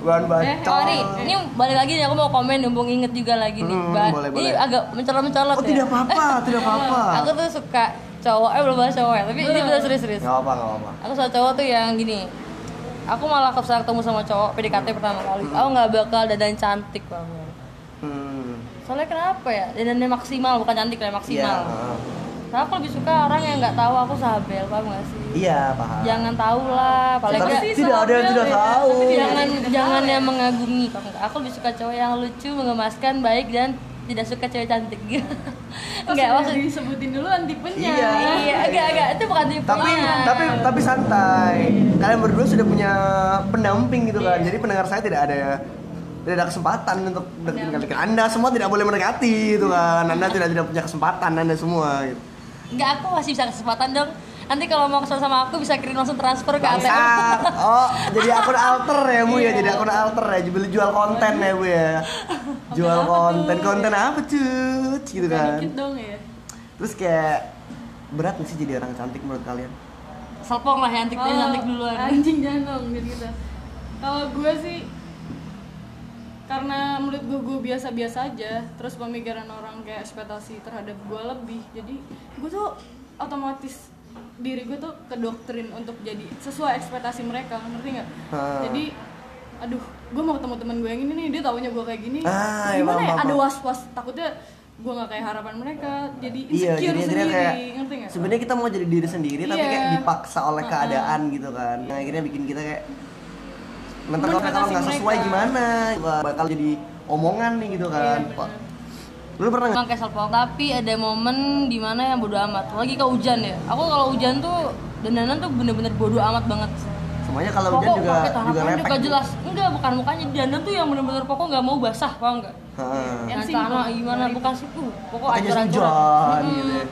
Speaker 3: Bukan bacol.
Speaker 5: Oh nih, ini balik lagi nih aku mau komen mumpung inget juga lagi nih.
Speaker 3: Hmm,
Speaker 5: Ba-
Speaker 3: boleh,
Speaker 5: ini
Speaker 3: boleh.
Speaker 5: agak mencolot-mencolot
Speaker 3: Oh
Speaker 5: ya.
Speaker 3: tidak apa-apa, tidak apa-apa.
Speaker 5: Aku tuh suka cowok, eh belum bahas cowok ya, tapi ini bener serius-serius.
Speaker 3: Gak apa, gak apa.
Speaker 5: Aku suka cowok tuh yang gini. Aku malah kesal ketemu sama cowok PDKT pertama kali. Aku nggak bakal dadan cantik banget.
Speaker 3: Hmm.
Speaker 5: Soalnya kenapa ya? Dadannya maksimal, bukan cantik lah
Speaker 3: Iya.
Speaker 5: maksimal. Nah, aku lebih suka orang yang nggak tahu aku sahabel, paham gak sih?
Speaker 3: Iya, paham.
Speaker 5: Jangan tahu lah, paling
Speaker 3: Tapi
Speaker 5: nggak
Speaker 3: tidak ada yang tidak tahu.
Speaker 5: jangan jangan yang mengagumi paham nggak? Aku lebih suka cowok yang lucu, mengemaskan, baik dan tidak suka cewek cantik
Speaker 4: Terus
Speaker 5: enggak
Speaker 4: udah
Speaker 5: waktu
Speaker 4: disebutin dulu tipenya
Speaker 3: Iya.
Speaker 5: iya agak agak itu bukan tipe
Speaker 3: tapi
Speaker 4: Iya.
Speaker 3: tapi tapi santai kalian berdua sudah punya pendamping gitu kan
Speaker 4: Iya.
Speaker 3: jadi pendengar saya tidak ada tidak ada kesempatan untuk mendekati anda semua tidak boleh mendekati gitu kan anda tidak tidak punya kesempatan anda semua gitu.
Speaker 5: enggak aku masih bisa kesempatan dong nanti kalau mau kesel sama aku bisa kirim langsung transfer ke ATM
Speaker 3: Bangsat. oh jadi akun alter ya bu
Speaker 4: Iya.
Speaker 3: ya jadi akun alter ya beli jual konten ya bu ya jual
Speaker 4: apa
Speaker 3: konten
Speaker 4: tuh?
Speaker 3: konten apa cuy gitu
Speaker 4: Bukan
Speaker 3: kan
Speaker 4: dikit dong ya
Speaker 3: terus kayak berat nggak sih jadi orang cantik menurut kalian
Speaker 5: selpong lah yang cantik
Speaker 4: Kalau-
Speaker 5: cantik duluan
Speaker 4: Oh, anjing jangan dong jadi gitu kalau gue sih karena menurut gue gue biasa-biasa aja terus pemikiran orang kayak ekspektasi terhadap gue lebih jadi gue tuh otomatis diri gue tuh kedoktrin untuk jadi sesuai ekspektasi mereka ngerti nggak
Speaker 3: Ah.
Speaker 4: jadi aduh gue mau ketemu temen gue yang ini nih dia taunya gue kayak gini
Speaker 3: Ah, ya,
Speaker 4: gimana
Speaker 3: paham,
Speaker 4: ya
Speaker 3: paham,
Speaker 4: ada
Speaker 3: paham.
Speaker 4: was-was takutnya gue nggak kayak harapan mereka jadi
Speaker 3: Iya,
Speaker 4: insecure
Speaker 3: jadi akhirnya
Speaker 4: sendiri
Speaker 3: kayak
Speaker 4: ngerti nggak
Speaker 3: sebenarnya kita mau jadi diri sendiri tapi
Speaker 4: Iya.
Speaker 3: kayak dipaksa oleh keadaan gitu kan. Yang akhirnya bikin kita kayak nanti kalau kalau nggak
Speaker 4: Ekspektasi
Speaker 3: sesuai
Speaker 4: mereka.
Speaker 3: gimana Wah, bakal jadi omongan nih
Speaker 5: Iya,
Speaker 3: gitu kan. Pak. Lu pernah nggak?
Speaker 5: Emang kayak selpong, tapi ada momen dimana yang bodo amat Lagi ke hujan ya, aku kalau hujan tuh dandanan tuh bener-bener bodo amat banget
Speaker 3: Semuanya kalau hujan
Speaker 5: Pokok
Speaker 3: juga
Speaker 5: pakai celana
Speaker 3: juga
Speaker 5: pendek
Speaker 3: lepek. gitu.
Speaker 5: gak jelas Enggak, bukan mukanya, dandan tuh yang bener-bener pokok nggak mau basah, paham nggak?
Speaker 3: Heeh.
Speaker 5: Yang
Speaker 4: Yang
Speaker 5: celana
Speaker 4: singkong.
Speaker 5: gimana, bukan sih, uh, pokok
Speaker 3: Pakai jas hujan
Speaker 5: ancur-ancuran
Speaker 3: gitu ya.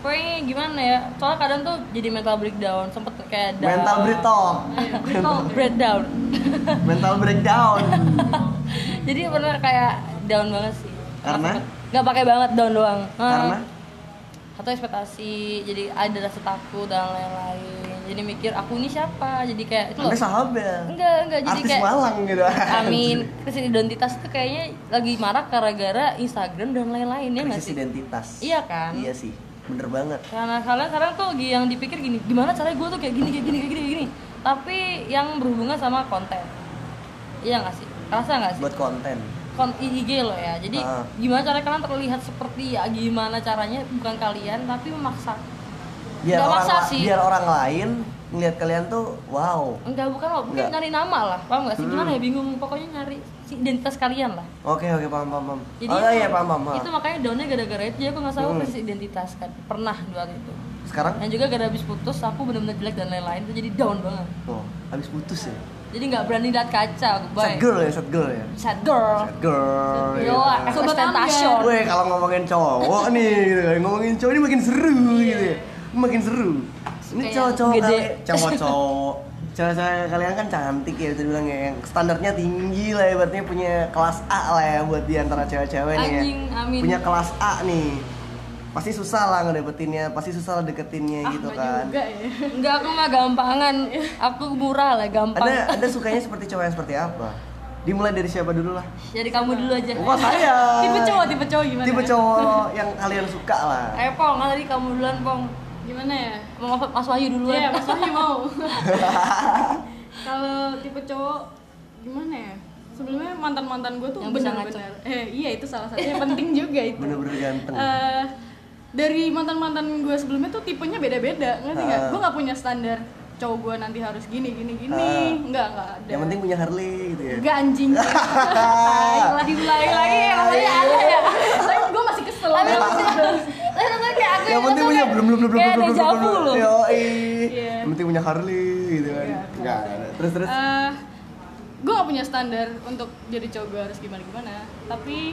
Speaker 5: Pokoknya gimana ya, soalnya kadang tuh jadi mental breakdown, sempet kayak down
Speaker 3: Mental breakdown,
Speaker 5: Mental breakdown
Speaker 3: mental breakdown.
Speaker 5: Jadi bener kayak down banget sih
Speaker 3: Karena
Speaker 5: Nggak pakai banget down doang Hah.
Speaker 3: karena
Speaker 5: atau ekspektasi jadi ada rasa takut dan lain-lain jadi mikir aku ini siapa jadi kayak itu loh
Speaker 3: Anda sahabat.
Speaker 5: enggak enggak jadi
Speaker 3: Artis
Speaker 5: kayak
Speaker 3: Malang gitu.
Speaker 5: amin krisis identitas itu kayaknya lagi marak gara-gara Instagram dan lain-lain ya nggak
Speaker 3: Krisis
Speaker 5: sih
Speaker 3: identitas.
Speaker 5: Iya kan?
Speaker 3: Iya sih. Bener banget.
Speaker 5: karena kalian sekarang tuh lagi yang dipikir gini gimana caranya gue tuh kayak gini kayak gini kayak gini kayak gini tapi yang berhubungan sama konten iya nggak sih rasa nggak sih
Speaker 3: Buat konten.
Speaker 5: kon IG lo ya. Jadi
Speaker 3: Ah.
Speaker 5: gimana cara kalian terlihat seperti ya gimana caranya bukan kalian tapi memaksa.
Speaker 3: biar
Speaker 5: Nggak
Speaker 3: orang
Speaker 5: maksa
Speaker 3: la-
Speaker 5: sih.
Speaker 3: biar orang lain ngeliat kalian tuh wow
Speaker 5: Enggak bukan lo,
Speaker 3: Enggak.
Speaker 5: mungkin
Speaker 3: Hmm.
Speaker 5: nyari nama lah. Paham nggak sih? Gimana ya bingung pokoknya nyari si identitas kalian lah.
Speaker 3: oke oke paham paham paham
Speaker 5: Jadi
Speaker 3: oh
Speaker 5: itu-
Speaker 3: iya paham paham paham.
Speaker 5: Itu makanya downnya gara-gara itu jadi aku nggak tahu
Speaker 3: Hmm.
Speaker 5: krisis identitas kan. Pernah dua gitu. kali itu.
Speaker 3: sekarang
Speaker 5: Dan juga gara habis putus aku bener-bener jelek dan lain-lain itu jadi down banget.
Speaker 3: oh habis putus ya
Speaker 5: Jadi nggak berani lihat kaca aku
Speaker 3: sad
Speaker 5: bye.
Speaker 3: girl ya sad girl ya
Speaker 5: Sad girl.
Speaker 3: sad girl
Speaker 5: Yo,
Speaker 3: ya.
Speaker 4: Sobat
Speaker 5: ekspektasi.
Speaker 3: Weh, kalau ngomongin cowok nih gitu kan ngomongin cowok ini makin seru
Speaker 4: Iya.
Speaker 3: gitu ya makin seru ini
Speaker 5: Kayak
Speaker 3: cowok-cowok
Speaker 5: gede.
Speaker 3: kali cowok-cowok cewek-cewek kalian kan cantik ya bisa dibilang ya yang standarnya tinggi lah ya berarti punya kelas A lah ya buat di antara cewek-cewek nih ya.
Speaker 5: Anjing, amin.
Speaker 3: punya kelas A nih pasti susah lah ngedapetinnya pasti susah lah deketinnya
Speaker 4: ah
Speaker 3: gitu
Speaker 4: nggak
Speaker 3: kan
Speaker 4: juga ya
Speaker 5: Enggak aku mah gampangan. Aku murah lah, gampang.
Speaker 3: anda anda sukanya seperti cowok yang seperti apa dimulai dari siapa dulu lah
Speaker 5: Jadi kamu dulu aja.
Speaker 3: oh saya
Speaker 4: tipe cowok tipe cowok gimana
Speaker 3: tipe
Speaker 4: ya?
Speaker 3: cowok yang kalian suka lah
Speaker 5: Eh Pong, kan tadi kamu duluan Pong
Speaker 4: gimana ya
Speaker 5: Mau Mas, Mas Wahyu duluan
Speaker 4: iya mas Wahyu mau kalau tipe cowok gimana ya sebelumnya mantan mantan gue tuh
Speaker 5: Yang bisa
Speaker 4: benar-benar eh iya itu salah satunya penting juga itu
Speaker 3: bener-bener ganteng
Speaker 4: Eh, dari mantan mantan gue sebelumnya tuh tipenya beda beda ngerti nggak
Speaker 3: Ah.
Speaker 4: gue nggak punya standar cowok gue nanti harus gini gini gini
Speaker 3: Ah.
Speaker 4: nggak nggak ada
Speaker 3: yang penting punya Harley gitu ya
Speaker 4: Enggak anjing. Tai, diulangi lagi ya,
Speaker 3: Iya.
Speaker 4: namanya ada ya. Tapi gue masih kesel.
Speaker 5: Tapi
Speaker 4: banget.
Speaker 5: Tapi rasanya kayak aku
Speaker 3: yang penting punya belum belum belum belum
Speaker 5: Kayak
Speaker 3: belum
Speaker 5: deja vu
Speaker 3: belum
Speaker 5: loh.
Speaker 3: Yoi.
Speaker 4: Iya.
Speaker 3: yang penting punya Harley gitu kan
Speaker 4: Iya. Eh,
Speaker 3: enggak terus terus
Speaker 4: gue gak punya standar untuk jadi cowok gue harus gimana gimana. Tapi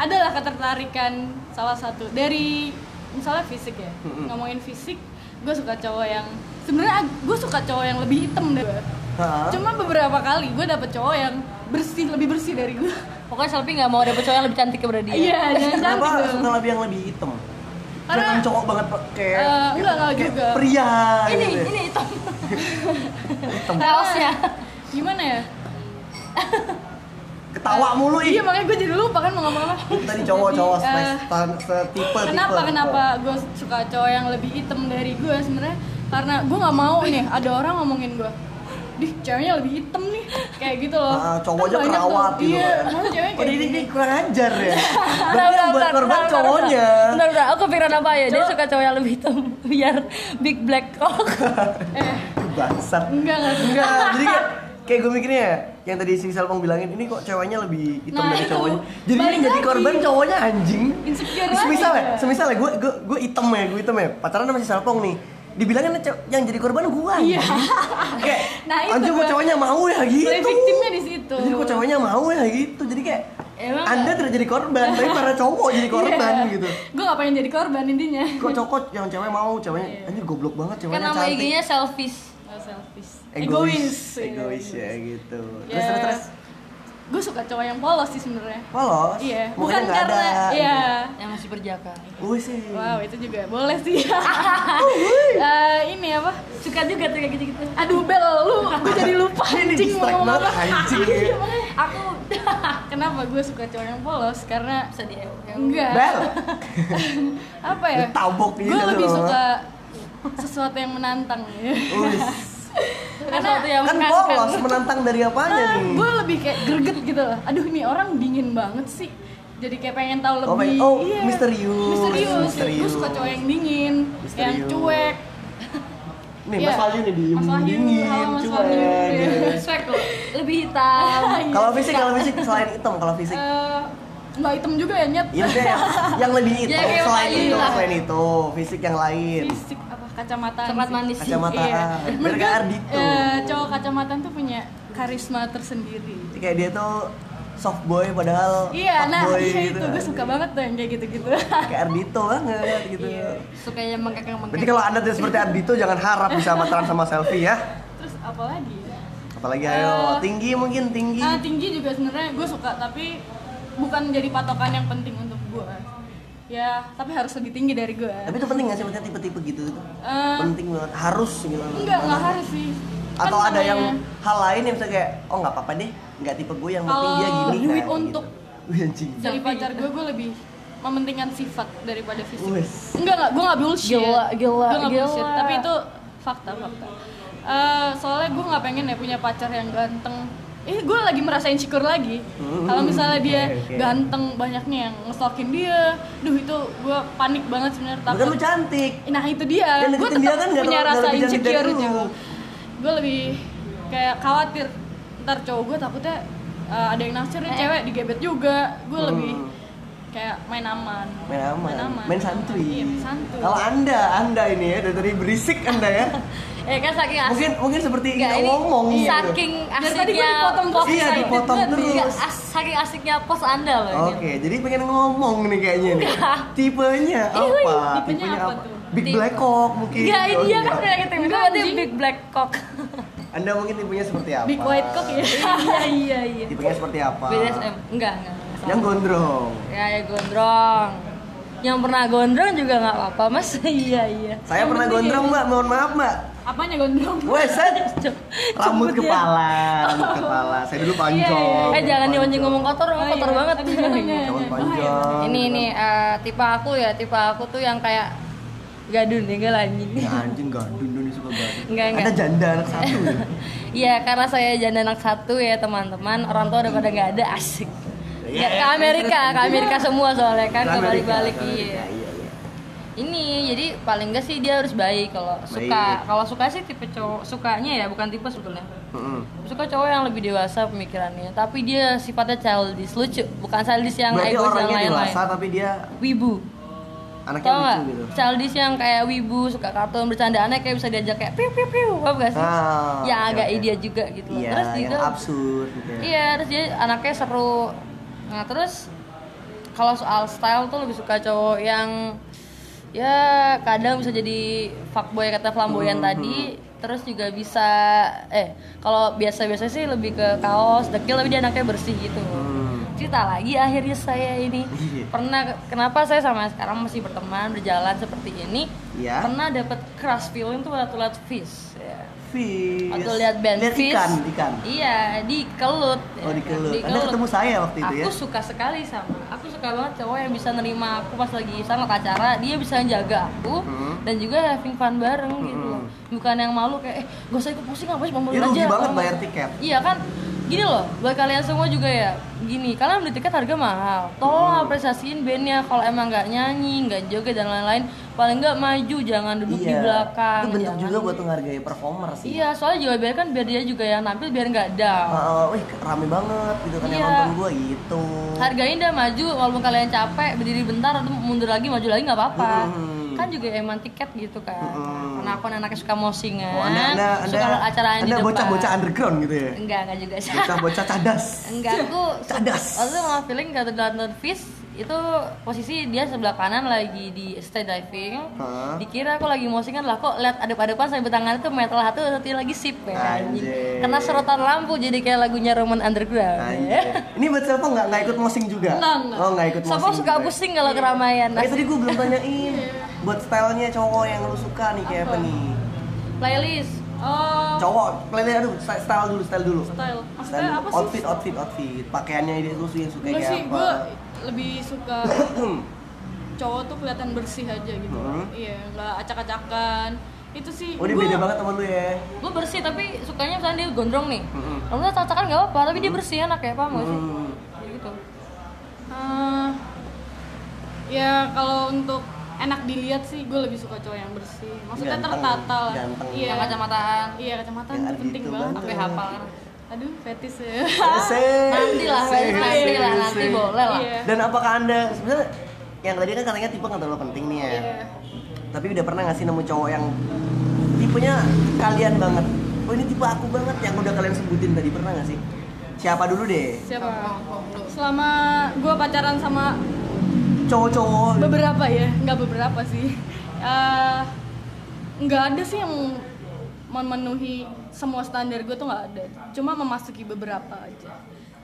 Speaker 4: adalah ketertarikan salah satu dari misalnya fisik ya.
Speaker 3: Mm-mm.
Speaker 4: Ngomongin fisik, gue suka cowok yang sebenarnya gue suka cowok yang lebih hitam dari gue.
Speaker 3: Hah?
Speaker 4: Cuma beberapa kali gue dapet cowok yang bersih lebih bersih dari gue.
Speaker 5: Pokoknya Selfie gak mau dapet cowok yang lebih cantik daripada dia
Speaker 4: Iya, jangan
Speaker 3: kenapa
Speaker 4: cantik
Speaker 3: suka
Speaker 4: dong.
Speaker 3: lebih yang lebih hitam
Speaker 4: Karena-
Speaker 3: Kelihatan cowok banget Pak. kayak
Speaker 4: Eh, enggak, enggak
Speaker 3: kayak
Speaker 4: juga.
Speaker 3: pria
Speaker 5: Ini,
Speaker 3: gitu ya.
Speaker 5: ini hitam
Speaker 3: Hitam.
Speaker 5: Raosnya
Speaker 4: Gimana ya?
Speaker 3: ketawa mulu ih
Speaker 4: Iya makanya gue jadi lupa kan mau ngomong apa.
Speaker 3: tadi cowok-cowok
Speaker 4: Jadi, eh,
Speaker 3: setipe
Speaker 4: kenapa kenapa gue suka cowok yang lebih hitam dari gue sebenarnya karena gue nggak mau nih ada orang ngomongin gue dih ceweknya lebih hitam nih kayak gitu loh
Speaker 3: Ah, cowok aja
Speaker 4: Kan banyak
Speaker 3: kerawat
Speaker 4: tuh.
Speaker 3: gitu
Speaker 4: iya
Speaker 3: kan.
Speaker 4: malah
Speaker 3: Oh,
Speaker 4: cewek kayak
Speaker 3: ini,
Speaker 4: gitu.
Speaker 3: ini kurang ajar ya.
Speaker 5: Bentar,
Speaker 3: Berarti yang buat
Speaker 5: bentar,
Speaker 3: korban
Speaker 5: bentar, bentar,
Speaker 3: cowoknya.
Speaker 4: Nah.
Speaker 5: Bentar, bentar, aku pikiran apa ya? Dia
Speaker 4: Cowok-
Speaker 5: suka cowok yang lebih hitam Biar big black cock
Speaker 4: eh
Speaker 3: Bangsat.
Speaker 4: enggak enggak
Speaker 3: Gitu? Enggak, jadi kayak, kayak gue mikirnya ya, yang tadi si Salpong bilangin ini kok ceweknya lebih hitam
Speaker 4: Nah,
Speaker 3: dari
Speaker 4: itu.
Speaker 3: cowoknya jadi
Speaker 4: Balik
Speaker 3: yang jadi
Speaker 4: lagi.
Speaker 3: korban cowoknya anjing
Speaker 4: Insecure lagi
Speaker 3: semisal ya
Speaker 4: dia.
Speaker 3: semisal ya gue gue gue hitam ya gue hitam ya pacaran sama si Salpong nih dibilangin ce- yang jadi korban gue
Speaker 4: Iya.
Speaker 3: kayak
Speaker 4: Nah, itu
Speaker 3: anjing kok
Speaker 4: gua-
Speaker 3: cowoknya mau ya gitu
Speaker 4: Play victimnya di situ.
Speaker 3: jadi kok cowoknya mau ya gitu jadi kayak
Speaker 4: Emang
Speaker 3: anda
Speaker 4: nggak- Iya.
Speaker 3: tidak jadi korban tapi para cowok jadi korban gitu
Speaker 4: Gue gak pengen jadi korban intinya.
Speaker 3: kok cowok yang cewek mau
Speaker 4: Iya.
Speaker 3: ceweknya anjir goblok banget
Speaker 5: Kan
Speaker 3: ceweknya
Speaker 5: nama
Speaker 3: cantik
Speaker 5: IG-nya selfish.
Speaker 4: Gak selfish.
Speaker 3: egois
Speaker 4: Egois. iya.
Speaker 3: egois ya gitu
Speaker 4: Ya.
Speaker 3: terus terus terus
Speaker 4: Gue suka cowok yang polos sih sebenarnya.
Speaker 3: polos
Speaker 4: Iya.
Speaker 3: mukanya
Speaker 4: Bukan
Speaker 3: nggak
Speaker 4: karena.
Speaker 3: ada. gitu?
Speaker 4: Iya.
Speaker 5: Yang masih berjaka.
Speaker 3: Wih sih
Speaker 4: Wow itu juga boleh sih. Eh, ini apa?
Speaker 5: Suka juga tuh kayak gitu-gitu.
Speaker 4: Aduh Bel, lu gue jadi lupa
Speaker 3: Ini
Speaker 4: anjing
Speaker 3: distract
Speaker 4: mau ngomong
Speaker 3: banget,
Speaker 4: apa.
Speaker 3: anjing.
Speaker 5: ya.
Speaker 4: Iya, makanya Aku kenapa gue suka cowok yang polos karena
Speaker 5: Bisa di
Speaker 4: enggak
Speaker 3: Bel
Speaker 4: apa ya?
Speaker 3: Ditabok dia
Speaker 4: Gue
Speaker 3: lu gitu
Speaker 4: lebih
Speaker 3: sama.
Speaker 4: suka sesuatu yang menantang ya.
Speaker 3: Wih.
Speaker 5: Sesuatu yang
Speaker 3: kan
Speaker 5: menantang.
Speaker 3: polos menantang dari apanya
Speaker 4: Ah,
Speaker 3: nih
Speaker 4: gue lebih kayak greget gitu loh. Aduh nih orang dingin banget sih. Jadi kayak pengen tahu
Speaker 3: Oh,
Speaker 4: lebih.
Speaker 3: pengen-
Speaker 4: iya.
Speaker 3: oh, misterius.
Speaker 4: Misterius. Gue
Speaker 3: Misterius.
Speaker 4: suka cowok yang dingin, yang
Speaker 3: Misterius.
Speaker 4: cuek.
Speaker 3: nih
Speaker 4: Iya.
Speaker 3: mas Wahyu nih diem
Speaker 4: Mas Wahyu,
Speaker 3: dingin
Speaker 4: halo, Mas Iya.
Speaker 3: cuek
Speaker 4: Wahyu.
Speaker 3: gitu.
Speaker 5: Swag loh. Lebih hitam.
Speaker 3: kalau fisik kalau fisik selain hitam kalau fisik
Speaker 4: Eh, nggak hitam juga ya nyet.
Speaker 3: Iya maksudnya yang, yang lebih
Speaker 4: Iya,
Speaker 3: hitam
Speaker 5: Ya, kayak
Speaker 3: selain
Speaker 5: Wahyu
Speaker 3: itu
Speaker 5: lah.
Speaker 3: selain itu fisik yang lain
Speaker 4: Fisik apa kacamata?
Speaker 5: Tempat manis.
Speaker 3: kacamata
Speaker 4: Iya.
Speaker 3: biar
Speaker 4: Menurut
Speaker 3: kayak
Speaker 4: gue,
Speaker 3: Ardito
Speaker 4: eh, cowok kacamata tuh punya karisma tersendiri.
Speaker 3: Jadi kayak dia tuh soft boy padahal
Speaker 4: Iya,
Speaker 3: fuck
Speaker 4: nah
Speaker 3: boy
Speaker 4: iya
Speaker 3: gitu.
Speaker 4: itu gue suka banget tuh yang kayak gitu-gitu.
Speaker 3: kayak Ardito banget gitu
Speaker 4: Iya.
Speaker 5: Suka yang mengkakang-mengkakang.
Speaker 3: berarti kalau anda tidak seperti Ardito jangan harap bisa pacaran sama selfie ya
Speaker 4: Terus apa lagi? ya?
Speaker 3: apalagi ayo
Speaker 4: Eh,
Speaker 3: tinggi mungkin tinggi
Speaker 4: Ah, tinggi juga sebenarnya gue suka tapi bukan jadi patokan yang penting untuk gue. Ya, tapi harus lebih tinggi dari gue.
Speaker 3: tapi itu penting nggak sih maksudnya tipe-tipe gitu tuh
Speaker 4: Eh,
Speaker 3: penting banget harus gitu
Speaker 4: enggak,
Speaker 3: Mana?
Speaker 4: enggak harus sih. Kan
Speaker 3: atau ada
Speaker 4: namanya
Speaker 3: yang hal lain yang bisa kayak oh nggak apa-apa deh nggak tipe gue yang penting
Speaker 4: Kalau
Speaker 3: dia gini
Speaker 4: duit
Speaker 3: kayak gitu.
Speaker 4: untuk-
Speaker 3: Wih, anjing
Speaker 4: dari pacar
Speaker 3: gitu?
Speaker 4: gue gue lebih mementingkan sifat daripada fisik.
Speaker 3: Wes.
Speaker 4: Enggak enggak, gue nggak bullshit.
Speaker 5: Gila, gila,
Speaker 4: Gue nggak bullshit,
Speaker 5: gila.
Speaker 4: tapi itu fakta fakta. Eh, soalnya gue nggak pengen ya punya pacar yang ganteng. Eh, gue lagi merasa insecure lagi. Kalau misalnya dia
Speaker 3: Hmm. oke, oke.
Speaker 4: ganteng banyaknya yang ngestokin dia, duh itu gue panik banget sebenarnya.
Speaker 3: bukan
Speaker 4: takut.
Speaker 3: lu cantik
Speaker 4: Nah itu dia,
Speaker 3: Dan
Speaker 4: gue
Speaker 3: deketin dia
Speaker 4: tetap
Speaker 3: kan nggak
Speaker 4: punya
Speaker 3: terlalu-
Speaker 4: rasa
Speaker 3: nggak lebih gitu. cantik dari
Speaker 4: insecure
Speaker 3: lu.
Speaker 4: juga Gue lebih kayak khawatir Ntar cowok gue takutnya uh, ada yang naksir
Speaker 5: Eh.
Speaker 4: nih cewek digebet juga Gue lebih kayak main aman
Speaker 3: Hmm. main aman, main, santuy.
Speaker 4: Iya main santuy
Speaker 3: Kalau anda, anda ini ya dari tadi berisik anda ya.
Speaker 5: Ya kan saking asik.
Speaker 3: mungkin mungkin seperti
Speaker 5: Nggak,
Speaker 3: ingin
Speaker 5: ini
Speaker 3: ngomong gitu.
Speaker 5: Saking
Speaker 4: Dari
Speaker 5: asiknya.
Speaker 4: tadi gue dipotong-potong
Speaker 3: Iya,
Speaker 4: excited
Speaker 3: dipotong
Speaker 4: banget nih.
Speaker 5: Nggak,
Speaker 3: terus.
Speaker 5: as- saking asiknya pos anda loh
Speaker 3: Oke,
Speaker 5: ini.
Speaker 3: jadi pengen ngomong nih kayaknya nih. Tipenya
Speaker 5: Ih, wih,
Speaker 3: apa?
Speaker 4: tipenya apa tuh?
Speaker 3: Big
Speaker 5: Tipe.
Speaker 3: black cock mungkin.
Speaker 5: Nggak,
Speaker 3: Oh,
Speaker 5: dia kan
Speaker 3: enggak.
Speaker 5: udah gitu. Itu
Speaker 4: Enggak,
Speaker 5: berarti
Speaker 4: anjing.
Speaker 5: big black cock.
Speaker 3: Anda mungkin tipenya seperti apa?
Speaker 4: Big white cock ya
Speaker 5: Iya iya iya.
Speaker 3: Tipenya seperti apa?
Speaker 5: BDSM enggak enggak. enggak, salah.
Speaker 3: Yang gondrong.
Speaker 5: Ya ya gondrong. Yang pernah gondrong juga nggak apa-apa mas. Iya iya.
Speaker 3: Saya
Speaker 4: Yang
Speaker 3: pernah
Speaker 4: penting
Speaker 3: gondrong,
Speaker 4: ini.
Speaker 3: Mbak. Mohon maaf, Mbak.
Speaker 4: Apanya gondrong?
Speaker 3: Iya. Weset.
Speaker 5: Cep-
Speaker 3: Rambut
Speaker 5: cepet ya.
Speaker 3: kepala, rambut kepala. Saya dulu
Speaker 4: iya.
Speaker 3: pancong.
Speaker 5: Eh jangan Oh,
Speaker 3: pancong.
Speaker 5: dibonceng ngomong kotor,
Speaker 4: Oh,
Speaker 5: kotor
Speaker 4: iya.
Speaker 5: banget.
Speaker 4: Aduh, jangan, jangan,
Speaker 3: Jangan
Speaker 4: jangan.
Speaker 3: panjang.
Speaker 5: iya, Ini ini eh, tipe aku ya, tipe aku tuh yang kayak gadun ya enggak anjing.
Speaker 3: Ya, anjing gadun Doni suka banget.
Speaker 5: Enggak, enggak.
Speaker 3: Ada janda anak satu. ya?
Speaker 5: Iya, karena saya janda anak satu ya teman-teman. Orang tua udah pada nggak ada asik. Ya, ke Amerika, ke Amerika semua soalnya kan,
Speaker 3: Ke
Speaker 5: ke
Speaker 3: Amerika,
Speaker 5: balik-balik
Speaker 3: ke Amerika, iya,
Speaker 5: iya.
Speaker 3: iya.
Speaker 5: Ini jadi paling enggak sih dia harus baik kalau
Speaker 3: Baik.
Speaker 5: suka. Kalau suka sih tipe cowok sukanya ya bukan tipe sebetulnya.
Speaker 3: Mm-mm.
Speaker 5: Suka cowok yang lebih dewasa pemikirannya, tapi dia sifatnya childish, lucu. Bukan childish yang
Speaker 3: Berarti
Speaker 5: egois yang
Speaker 3: orangnya
Speaker 5: lain-lain.
Speaker 3: dewasa tapi dia
Speaker 5: Wibu.
Speaker 3: anaknya
Speaker 5: Tau
Speaker 3: lucu
Speaker 5: gak?
Speaker 3: gitu.
Speaker 5: Childish yang kayak wibu, suka kartun, bercandaannya kayak bisa diajak kayak piu piu piu, apa gak sih?
Speaker 3: Ah,
Speaker 5: yang
Speaker 3: oke,
Speaker 5: agak
Speaker 3: oke.
Speaker 5: idea juga gitu loh.
Speaker 3: Iya,
Speaker 5: Terus
Speaker 3: yang
Speaker 5: juga
Speaker 3: absurd gitu. ya.
Speaker 5: Iya, terus dia anaknya seru. Nah, terus kalau soal style tuh lebih suka cowok yang ya kadang bisa jadi fuckboy kata flamboyan
Speaker 3: Hmm,
Speaker 5: tadi, terus juga bisa eh kalau biasa-biasa sih lebih ke kaos, dekil tapi dia anaknya bersih gitu.
Speaker 3: Hmm.
Speaker 5: Cerita lagi akhirnya saya ini
Speaker 3: Iya.
Speaker 5: pernah kenapa saya sama sekarang masih berteman berjalan seperti ini
Speaker 3: Iya.
Speaker 5: pernah dapat crush feeling tuh waktu lihat fish ya.
Speaker 3: Fish.
Speaker 5: Waktu lihat band Iya,
Speaker 3: Lihat
Speaker 5: Fish.
Speaker 3: ikan, ikan.
Speaker 5: Iya, dikelut.
Speaker 3: Oh, dikelut. Anda ketemu saya waktu itu ya?
Speaker 5: Aku suka sekali sama. Aku suka banget cowok yang bisa nerima aku pas lagi sama acara, dia bisa jaga aku
Speaker 3: Hmm.
Speaker 5: dan juga having fun bareng gitu.
Speaker 3: Hmm.
Speaker 5: Bukan yang malu kayak eh gak usah ikut pusing apa sih pemulung
Speaker 3: Ya, rugi
Speaker 5: aja.
Speaker 3: banget
Speaker 5: Oh.
Speaker 3: bayar tiket.
Speaker 5: Iya kan? gini loh buat kalian semua juga ya gini kalian beli tiket harga mahal
Speaker 3: Hmm.
Speaker 5: tolong apresiasiin bandnya kalau emang nggak nyanyi nggak joget dan lain-lain paling nggak maju jangan duduk di belakang
Speaker 3: Iya. Itu bentuk
Speaker 5: jangan-
Speaker 3: juga buat menghargai performer sih.
Speaker 5: iya soalnya juga biar kan biar dia juga yang nampil biar nggak down
Speaker 3: Ah, ah, wih, rame banget gitu kan yang
Speaker 5: Iya.
Speaker 3: nonton gua gitu.
Speaker 5: hargain dah maju walaupun kalian capek berdiri bentar atau mundur lagi maju lagi nggak apa-apa
Speaker 3: Hmm.
Speaker 5: kan juga emang tiket gitu kan
Speaker 3: Hmm.
Speaker 5: karena aku anaknya suka mosingan
Speaker 3: Oh, anda, anda,
Speaker 5: suka
Speaker 3: anda,
Speaker 5: acaraan di
Speaker 3: anda
Speaker 5: depan
Speaker 3: bocah-bocah underground gitu ya?
Speaker 5: enggak enggak juga sih
Speaker 3: Bocah-bocah cadas.
Speaker 5: enggak aku
Speaker 3: Cadas.
Speaker 5: waktu itu malah feeling gak nonton fish itu posisi dia sebelah kanan lagi di stage diving
Speaker 3: Hah?
Speaker 5: dikira aku lagi mosingan lah kok lihat ada depan saya tangan itu metal hatu satu lagi sip ya anjing.
Speaker 3: Anjay.
Speaker 5: kena serotan lampu jadi kayak lagunya Roman Underground
Speaker 3: Anjir.
Speaker 5: ya.
Speaker 3: Ini buat siapa nggak nggak ikut mosing juga?
Speaker 4: Enggak, enggak.
Speaker 3: Oh nggak ikut
Speaker 5: Sopo
Speaker 3: mosing.
Speaker 5: suka Iya.
Speaker 3: juga.
Speaker 5: pusing kalau keramaian
Speaker 3: Nah,
Speaker 5: nah,
Speaker 3: tadi gue belum tanyain buat stylenya cowok yang lu suka nih kayak apa,
Speaker 4: Apa?
Speaker 3: nih?
Speaker 5: playlist
Speaker 4: Oh,
Speaker 3: Cowok, playlist aduh style, style dulu, style dulu.
Speaker 4: style. Maksudnya
Speaker 3: Style dulu.
Speaker 4: apa sih?
Speaker 3: outfit, outfit, outfit. Pakaiannya dia lu yang suka
Speaker 4: Enggak
Speaker 3: kayak
Speaker 4: sih,
Speaker 3: apa?
Speaker 4: gue lebih suka cowok tuh kelihatan bersih aja gitu.
Speaker 3: Hmm.
Speaker 4: Iya, nggak acak-acakan. Itu sih.
Speaker 3: Oh, dia
Speaker 4: gua-
Speaker 3: beda banget sama lu ya.
Speaker 5: gue bersih tapi sukanya misalnya dia gondrong nih
Speaker 3: Mm-mm.
Speaker 5: kalau nggak cacakan nggak apa-apa tapi dia bersih enak ya paham gak sih
Speaker 3: Hmm.
Speaker 5: Jadi gitu
Speaker 4: Ah, ya kalau untuk enak dilihat sih, gue lebih suka cowok yang bersih. Maksudnya
Speaker 3: Ganteng,
Speaker 4: tertata lah.
Speaker 3: ganteng.
Speaker 4: Iya,
Speaker 5: yang kacamataan
Speaker 4: Iya, kacamata
Speaker 3: Yang ada
Speaker 4: penting
Speaker 3: gitu
Speaker 4: banget.
Speaker 3: banget.
Speaker 5: sampai hafal
Speaker 4: Aduh, fetis ya.
Speaker 3: Seh,
Speaker 5: nanti lah
Speaker 3: seh,
Speaker 5: nanti lah
Speaker 3: seh,
Speaker 5: nanti
Speaker 3: seh.
Speaker 5: boleh lah
Speaker 4: Iya.
Speaker 3: Dan apakah anda sebenarnya yang tadi kan katanya tipe nggak terlalu penting nih ya?
Speaker 4: Iya.
Speaker 3: Tapi udah pernah nggak sih nemu cowok yang tipenya kalian banget? Oh ini tipe aku banget yang udah kalian sebutin tadi pernah nggak sih? Siapa dulu deh?
Speaker 4: Siapa? Selama gue pacaran sama
Speaker 3: Cowok-cowok.
Speaker 4: beberapa ya nggak beberapa sih Eh, nggak ada sih yang memenuhi semua standar gue tuh nggak ada cuma memasuki beberapa aja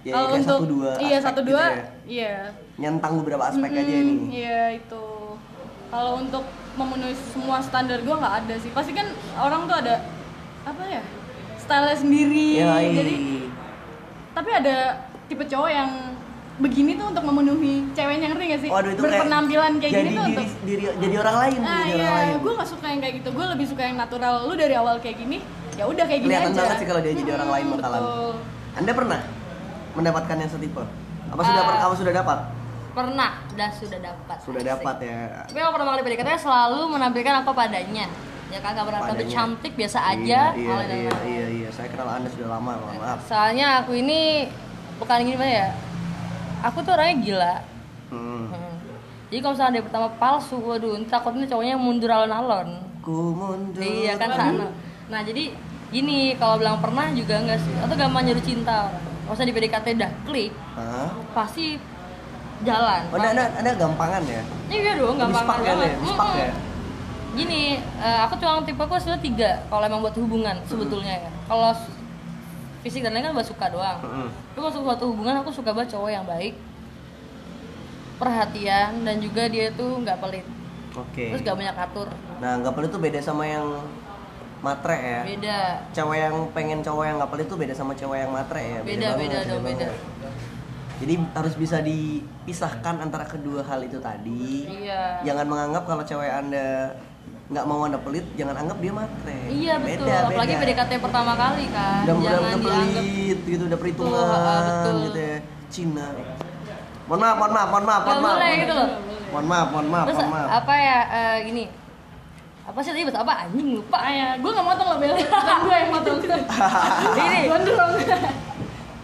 Speaker 3: Ya, kayak satu dua
Speaker 4: iya
Speaker 3: aspek
Speaker 4: satu
Speaker 3: gitu
Speaker 4: dua
Speaker 3: ya.
Speaker 4: iya
Speaker 3: Nyentang beberapa aspek aja
Speaker 4: Mm-mm,
Speaker 3: nih.
Speaker 4: iya itu kalau untuk memenuhi semua standar gue nggak ada sih pasti kan orang tuh ada apa ya style
Speaker 3: Yoi.
Speaker 4: sendiri iya. jadi
Speaker 3: iya.
Speaker 4: tapi ada tipe cowok yang begini tuh untuk memenuhi ceweknya ngerti gak sih
Speaker 3: Waduh itu kayak
Speaker 4: berpenampilan kayak,
Speaker 3: jadi
Speaker 4: gini tuh
Speaker 3: diri,
Speaker 4: untuk
Speaker 3: diri, jadi orang lain,
Speaker 4: Ah
Speaker 3: jadi orang
Speaker 4: iya,
Speaker 3: lain.
Speaker 4: gue gak suka yang kayak gitu. Gue lebih suka yang natural. Lu dari awal kayak gini, ya udah kayak gini
Speaker 3: Kelihatan
Speaker 4: aja.
Speaker 3: banget sih kalau dia jadi orang lain
Speaker 4: Hmm,
Speaker 3: bakalan.
Speaker 4: betul.
Speaker 3: Anda pernah mendapatkan yang setipe? Apa sudah
Speaker 5: Ah.
Speaker 3: pernah? Apa sudah dapat?
Speaker 5: pernah dan sudah dapat
Speaker 3: Sudah
Speaker 5: Asik.
Speaker 3: dapat ya.
Speaker 5: tapi kalau pertama kali PDKT selalu menampilkan apa padanya ya kagak berapa
Speaker 3: Padanya.
Speaker 5: cantik biasa aja
Speaker 3: Iya, iya,
Speaker 5: alay dan
Speaker 3: iya,
Speaker 5: lain-lain.
Speaker 3: iya, iya. Saya kenal Anda sudah lama, mohon
Speaker 4: Iya.
Speaker 3: maaf.
Speaker 5: soalnya aku ini bukan gini Pak, ya aku tuh orangnya gila
Speaker 3: Hmm.
Speaker 5: Hmm. jadi kalau misalnya dari pertama palsu waduh ini takutnya cowoknya mundur alon-alon
Speaker 3: Ku mundur.
Speaker 5: iya kan sana nah jadi gini kalau bilang pernah juga enggak sih atau gampang nyuruh cinta orang kalau misalnya di PDKT udah klik
Speaker 3: Hah?
Speaker 5: pasti jalan
Speaker 3: Oh, anda, anda, anda gampangan ya?
Speaker 5: iya dong gampang
Speaker 3: Mispak kan
Speaker 5: banget.
Speaker 3: ya? Mispak
Speaker 5: Mm-mm.
Speaker 3: ya?
Speaker 5: gini eh, aku cuma tipe aku sebenarnya tiga kalau emang buat hubungan sebetulnya ya kalau s- fisik dan lain kan buat suka doang
Speaker 3: Mm-mm.
Speaker 5: tapi masuk suatu hubungan aku suka banget cowok yang baik perhatian dan juga dia tuh nggak pelit
Speaker 3: Oke.
Speaker 5: terus nggak banyak atur
Speaker 3: Nah, nggak pelit tuh beda sama yang matre ya?
Speaker 5: beda
Speaker 3: Cewek yang pengen cowok yang nggak pelit tuh beda sama cewek yang matre ya?
Speaker 5: Beda,
Speaker 3: banget,
Speaker 5: beda dong, beda.
Speaker 3: banget. Jadi harus bisa dipisahkan antara kedua hal itu tadi.
Speaker 5: Iya.
Speaker 3: Jangan menganggap kalau cewek anda nggak mau anda pelit, jangan anggap dia matre.
Speaker 5: Iya betul, apalagi PDKT pertama kali kan,
Speaker 3: udah udah,
Speaker 5: jangan
Speaker 3: udah
Speaker 5: dianggap
Speaker 3: pelit gitu udah perhitungan
Speaker 5: Betul, ah, betul.
Speaker 3: gitu ya Cina mohon maaf mohon maaf mohon maaf
Speaker 5: nggak
Speaker 3: mohon maaf
Speaker 5: boleh gitu loh.
Speaker 3: mohon maaf mohon maaf
Speaker 5: Terus
Speaker 3: mohon maaf
Speaker 5: apa ya eh, gini, apa sih tadi bahasa apa anjing lupa
Speaker 4: Ah, ya, gue gak motong loh Bel. Bukan gue yang motong.
Speaker 3: Gitu.
Speaker 4: Eh,
Speaker 3: Ah,
Speaker 5: Gini.
Speaker 4: Gondrong.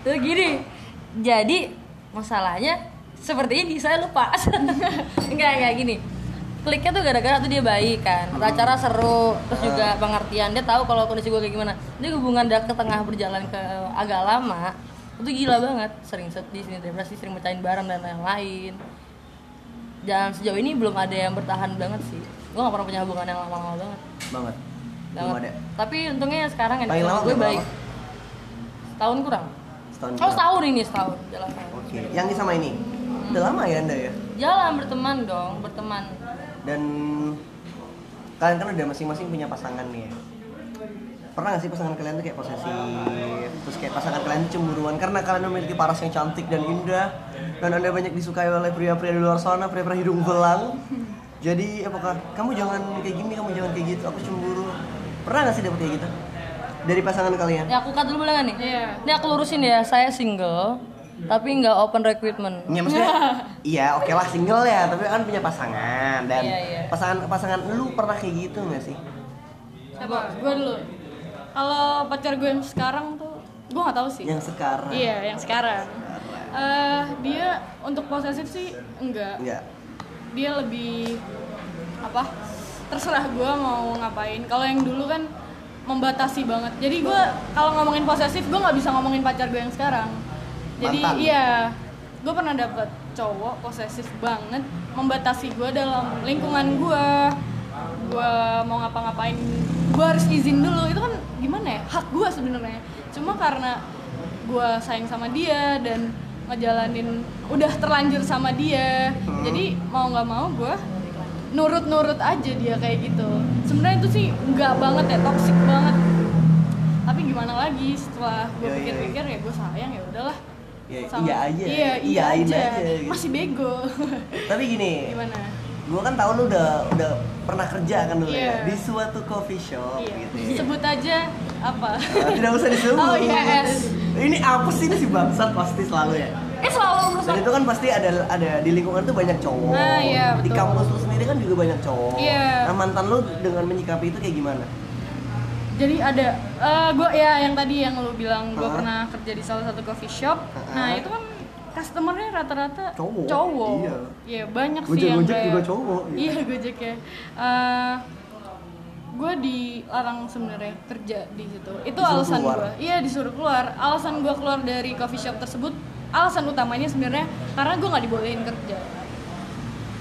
Speaker 5: Terus gini, jadi masalahnya seperti ini saya lupa. enggak enggak gini. Kliknya tuh gara-gara tuh dia baik kan,
Speaker 3: Hmm.
Speaker 5: acara seru, terus juga pengertian dia tahu kalau kondisi gue kayak gimana. Dia hubungan udah ke tengah berjalan ke eh, agak lama, itu gila banget, sering sedih, sering depresi, sering mecahin barang dan lain-lain. Dan sejauh ini belum ada yang bertahan banget sih. Gue gak pernah punya hubungan yang lama-lama banget.
Speaker 3: banget belum
Speaker 5: Banget.
Speaker 3: ada
Speaker 5: Tapi untungnya sekarang yang
Speaker 3: Paling lama
Speaker 5: gue
Speaker 3: berapa
Speaker 5: baik.
Speaker 3: lama?
Speaker 5: Tahun kurang.
Speaker 3: setahun
Speaker 5: Oh
Speaker 3: kurang.
Speaker 5: setahun ini setahun jalan
Speaker 3: oke yang ini sama ini udah lama ya anda ya
Speaker 5: Jalan berteman dong, berteman
Speaker 3: dan kalian kan udah masing-masing punya pasangan nih ya pernah gak sih pasangan kalian tuh kayak posesif terus kayak pasangan kalian tuh cemburuan karena kalian memiliki paras yang cantik dan indah dan anda banyak disukai oleh pria-pria di luar sana pria-pria hidung belang jadi apakah kamu jangan kayak gini kamu jangan kayak gitu aku cemburu pernah gak sih dapet kayak gitu dari pasangan kalian?
Speaker 5: Ya aku cut dulu boleh nggak nih?
Speaker 4: Iya.
Speaker 5: Ini aku lurusin ya, saya single tapi nggak open recruitment.
Speaker 3: Ya maksudnya, iya oke lah single ya, tapi kan punya pasangan dan
Speaker 5: Iya, iya.
Speaker 3: pasangan pasangan lu pernah kayak gitu nggak sih?
Speaker 4: Coba gue dulu. Kalau pacar gue yang sekarang tuh gue nggak tahu sih.
Speaker 3: Yang sekarang?
Speaker 4: Iya, yang sekarang. Eh dia untuk posesif sih enggak.
Speaker 3: Enggak.
Speaker 4: Dia lebih apa? Terserah gue mau ngapain. Kalau yang dulu kan membatasi banget. Jadi gue kalau ngomongin posesif gue nggak bisa ngomongin pacar gue yang sekarang. Jadi
Speaker 3: Mantan.
Speaker 4: iya, gue pernah dapet cowok posesif banget, membatasi gue dalam lingkungan gue. Gue mau ngapa-ngapain, gue harus izin dulu. Itu kan gimana ya? Hak gue sebenarnya. Cuma karena gue sayang sama dia dan ngejalanin udah terlanjur sama dia, jadi mau nggak mau gue nurut-nurut aja dia kayak gitu. Sebenarnya itu sih nggak banget ya, toxic banget. Tapi gimana lagi setelah
Speaker 3: Iya,
Speaker 4: gue
Speaker 3: iya, iya.
Speaker 4: pikir-pikir ya gue sayang ya udahlah
Speaker 3: Ya,
Speaker 4: sama-
Speaker 3: iya aja.
Speaker 4: iya iya
Speaker 3: Iyain
Speaker 4: aja,
Speaker 3: aja, gitu. Iya.
Speaker 4: masih bego
Speaker 3: Tapi gini,
Speaker 4: gimana
Speaker 3: gue kan tahu lu udah udah pernah kerja kan dulu
Speaker 4: Iya.
Speaker 3: ya di suatu coffee shop
Speaker 4: iya
Speaker 3: gitu. ya.
Speaker 4: sebut aja apa
Speaker 3: Ah, tidak usah disebut.
Speaker 4: Oh, yes.
Speaker 3: Ini apa sih ini si bangsat pasti selalu ya.
Speaker 5: Eh selalu
Speaker 3: Dan
Speaker 5: merusak.
Speaker 3: itu kan pasti ada ada di lingkungan tuh banyak cowok.
Speaker 4: Ah, iya,
Speaker 3: di
Speaker 4: betul.
Speaker 3: kampus lu sendiri kan juga banyak cowok.
Speaker 4: Iya.
Speaker 3: Nah, mantan lu dengan menyikapi itu kayak gimana?
Speaker 4: jadi ada eh gue ya yang tadi yang lu bilang gue
Speaker 3: Hah?
Speaker 4: pernah kerja di salah satu coffee shop
Speaker 3: Hah?
Speaker 4: nah itu kan customernya rata-rata
Speaker 3: Cowok,
Speaker 4: cowok.
Speaker 3: iya.
Speaker 4: Iya, banyak
Speaker 3: Gojek-
Speaker 4: sih yang
Speaker 3: Gojek
Speaker 4: kayak-
Speaker 3: juga cowok, iya.
Speaker 4: iya gojek ya Eh gue dilarang sebenarnya kerja di situ itu
Speaker 3: Disuruh
Speaker 4: alasan
Speaker 3: keluar.
Speaker 4: gue iya disuruh keluar alasan gue keluar dari coffee shop tersebut alasan utamanya sebenarnya karena gue nggak dibolehin kerja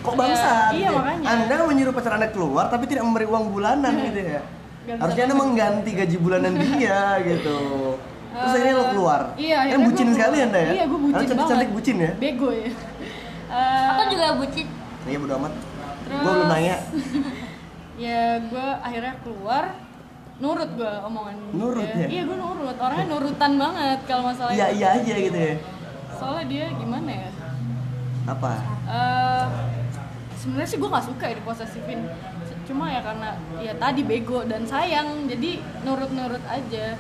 Speaker 3: Kok
Speaker 4: Iya,
Speaker 3: bangsat? gitu
Speaker 4: iya,
Speaker 3: ya?
Speaker 4: makanya. Iya.
Speaker 3: Anda menyuruh pacar Anda keluar tapi tidak memberi uang bulanan gitu ya.
Speaker 4: Gak bisa
Speaker 3: Harusnya Anda mengganti gaji bulanan dia gitu. Terus
Speaker 4: Eh,
Speaker 3: akhirnya lo keluar.
Speaker 4: iya
Speaker 3: Kan
Speaker 4: akhirnya
Speaker 3: bucin
Speaker 4: gua
Speaker 3: sekali
Speaker 4: keluar.
Speaker 3: Anda ya.
Speaker 4: iya gue bucin
Speaker 3: Karena
Speaker 4: banget
Speaker 3: cantik-cantik bucin ya.
Speaker 4: bego ya Eh,
Speaker 5: Atau juga bucin.
Speaker 3: Iya bodo amat.
Speaker 4: Terus-
Speaker 3: Gua belum nanya.
Speaker 4: ya gue akhirnya keluar nurut gue omongan
Speaker 3: Nurut
Speaker 4: dia.
Speaker 3: ya?
Speaker 4: iya gue nurut orangnya nurutan banget kalau masalah
Speaker 3: Iya
Speaker 4: itu.
Speaker 3: iya aja gitu ya.
Speaker 4: soalnya dia gimana ya
Speaker 3: Apa?
Speaker 4: Eh, sebenarnya sih gue nggak suka ya diposesifin C- cuma ya karena ya tadi bego dan sayang jadi nurut-nurut aja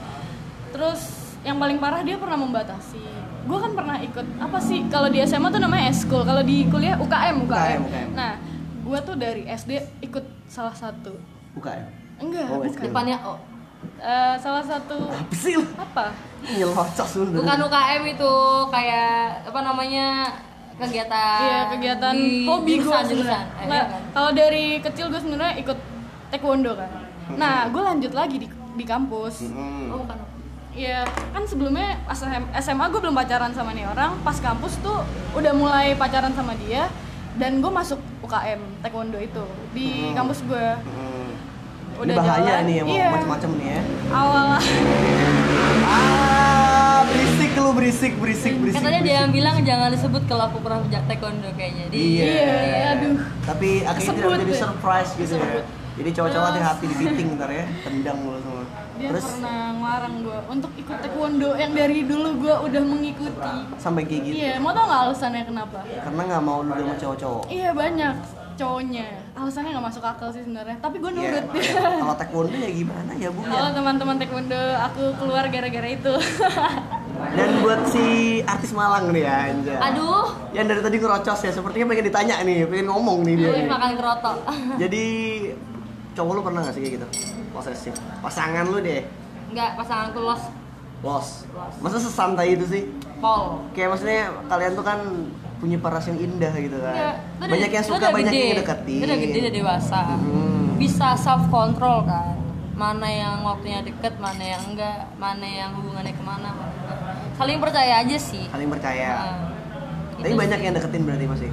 Speaker 4: terus yang paling parah dia pernah membatasi gue kan pernah ikut apa sih kalau di SMA tuh namanya eskul kalau di kuliah UKM UKM,
Speaker 3: UKM, UKM.
Speaker 4: nah gue tuh dari SD ikut salah satu
Speaker 3: Buka ya.
Speaker 4: enggak
Speaker 3: Oh,
Speaker 4: bukan
Speaker 3: eskul.
Speaker 5: Depannya O.
Speaker 4: Eh, salah satu
Speaker 3: Apa sih lu?
Speaker 4: apa
Speaker 3: Nyelocos Iya, lu.
Speaker 5: Bukan UKM itu kayak apa namanya kegiatan.
Speaker 4: Iya kegiatan
Speaker 5: Ah, di
Speaker 4: hobi gue
Speaker 5: jurusan jurusan.
Speaker 4: sebenarnya.
Speaker 5: Eh, iya
Speaker 4: Nggak,
Speaker 5: kan?
Speaker 4: Kalau dari kecil gue sebenarnya ikut taekwondo kan. Nah gue lanjut lagi di di kampus.
Speaker 3: Hmm.
Speaker 5: Oh bukan.
Speaker 4: Iya kan sebelumnya pas SMA gue belum pacaran sama nih orang. Pas kampus tuh udah mulai pacaran sama dia dan gue masuk UKM taekwondo itu di kampus gue.
Speaker 3: Hmm. Ini
Speaker 4: Udah
Speaker 3: bahaya
Speaker 4: jalan,
Speaker 3: nih emang
Speaker 4: iya.
Speaker 3: macam-macam nih ya.
Speaker 4: Awal
Speaker 3: Ah, berisik lu berisik berisik berisik.
Speaker 5: Katanya dia
Speaker 3: berisik.
Speaker 5: yang bilang jangan disebut kalau aku pernah menjak taekwondo kayaknya. Di
Speaker 3: Iya.
Speaker 4: Iya, aduh.
Speaker 3: Tapi akhirnya tidak
Speaker 4: Kesebut
Speaker 3: menjadi
Speaker 4: deh.
Speaker 3: surprise gitu ya.
Speaker 4: Kesebut.
Speaker 3: Jadi cowok-cowok
Speaker 4: Terus-
Speaker 3: hati-hati di fitting ntar ya, tendang lu semua.
Speaker 4: dia
Speaker 3: Terus
Speaker 4: pernah ngelarang gue untuk ikut taekwondo yang dari dulu gue udah mengikuti.
Speaker 3: sampai kayak gitu.
Speaker 4: Iya, mau tau gak alasannya kenapa?
Speaker 3: Karena nggak mau lu sama cowok-cowok.
Speaker 4: Iya banyak cowoknya. Alasannya nggak masuk akal sih sebenarnya. Tapi gue
Speaker 3: Iya.
Speaker 4: nurut.
Speaker 3: Kalau taekwondo ya gimana ya bu?
Speaker 4: Kalau teman-teman taekwondo aku keluar gara-gara itu.
Speaker 3: Dan buat si artis Malang nih ya, anjay.
Speaker 5: Aduh.
Speaker 3: Yang dari tadi ngerocos ya, sepertinya pengen ditanya nih, pengen ngomong nih dia.
Speaker 4: Iya,
Speaker 5: Gue
Speaker 3: nih.
Speaker 5: makan kerotok.
Speaker 3: Jadi cowok lu pernah gak sih kayak gitu? Posesif. Pasangan lu deh,
Speaker 5: Enggak pasanganku los
Speaker 3: los.
Speaker 5: Los.
Speaker 3: Masa sesantai itu sih?
Speaker 5: pol.
Speaker 3: Kayak maksudnya kalian tuh kan punya paras yang indah gitu kan.
Speaker 5: Enggak, lu
Speaker 3: banyak
Speaker 5: udah-
Speaker 3: yang
Speaker 5: lu
Speaker 3: suka,
Speaker 5: Iya, udah
Speaker 3: banyak
Speaker 5: gede.
Speaker 3: yang deketin.
Speaker 5: Lu Udah gede, udah dewasa.
Speaker 3: Hmm.
Speaker 5: Bisa self control kan. Mana yang waktunya deket, mana yang enggak, mana yang hubungannya kemana, mana enggak. Saling percaya aja sih.
Speaker 3: Saling percaya.
Speaker 5: Nah,
Speaker 3: Tapi
Speaker 5: gitu
Speaker 3: banyak
Speaker 5: sih.
Speaker 3: yang deketin berarti masih.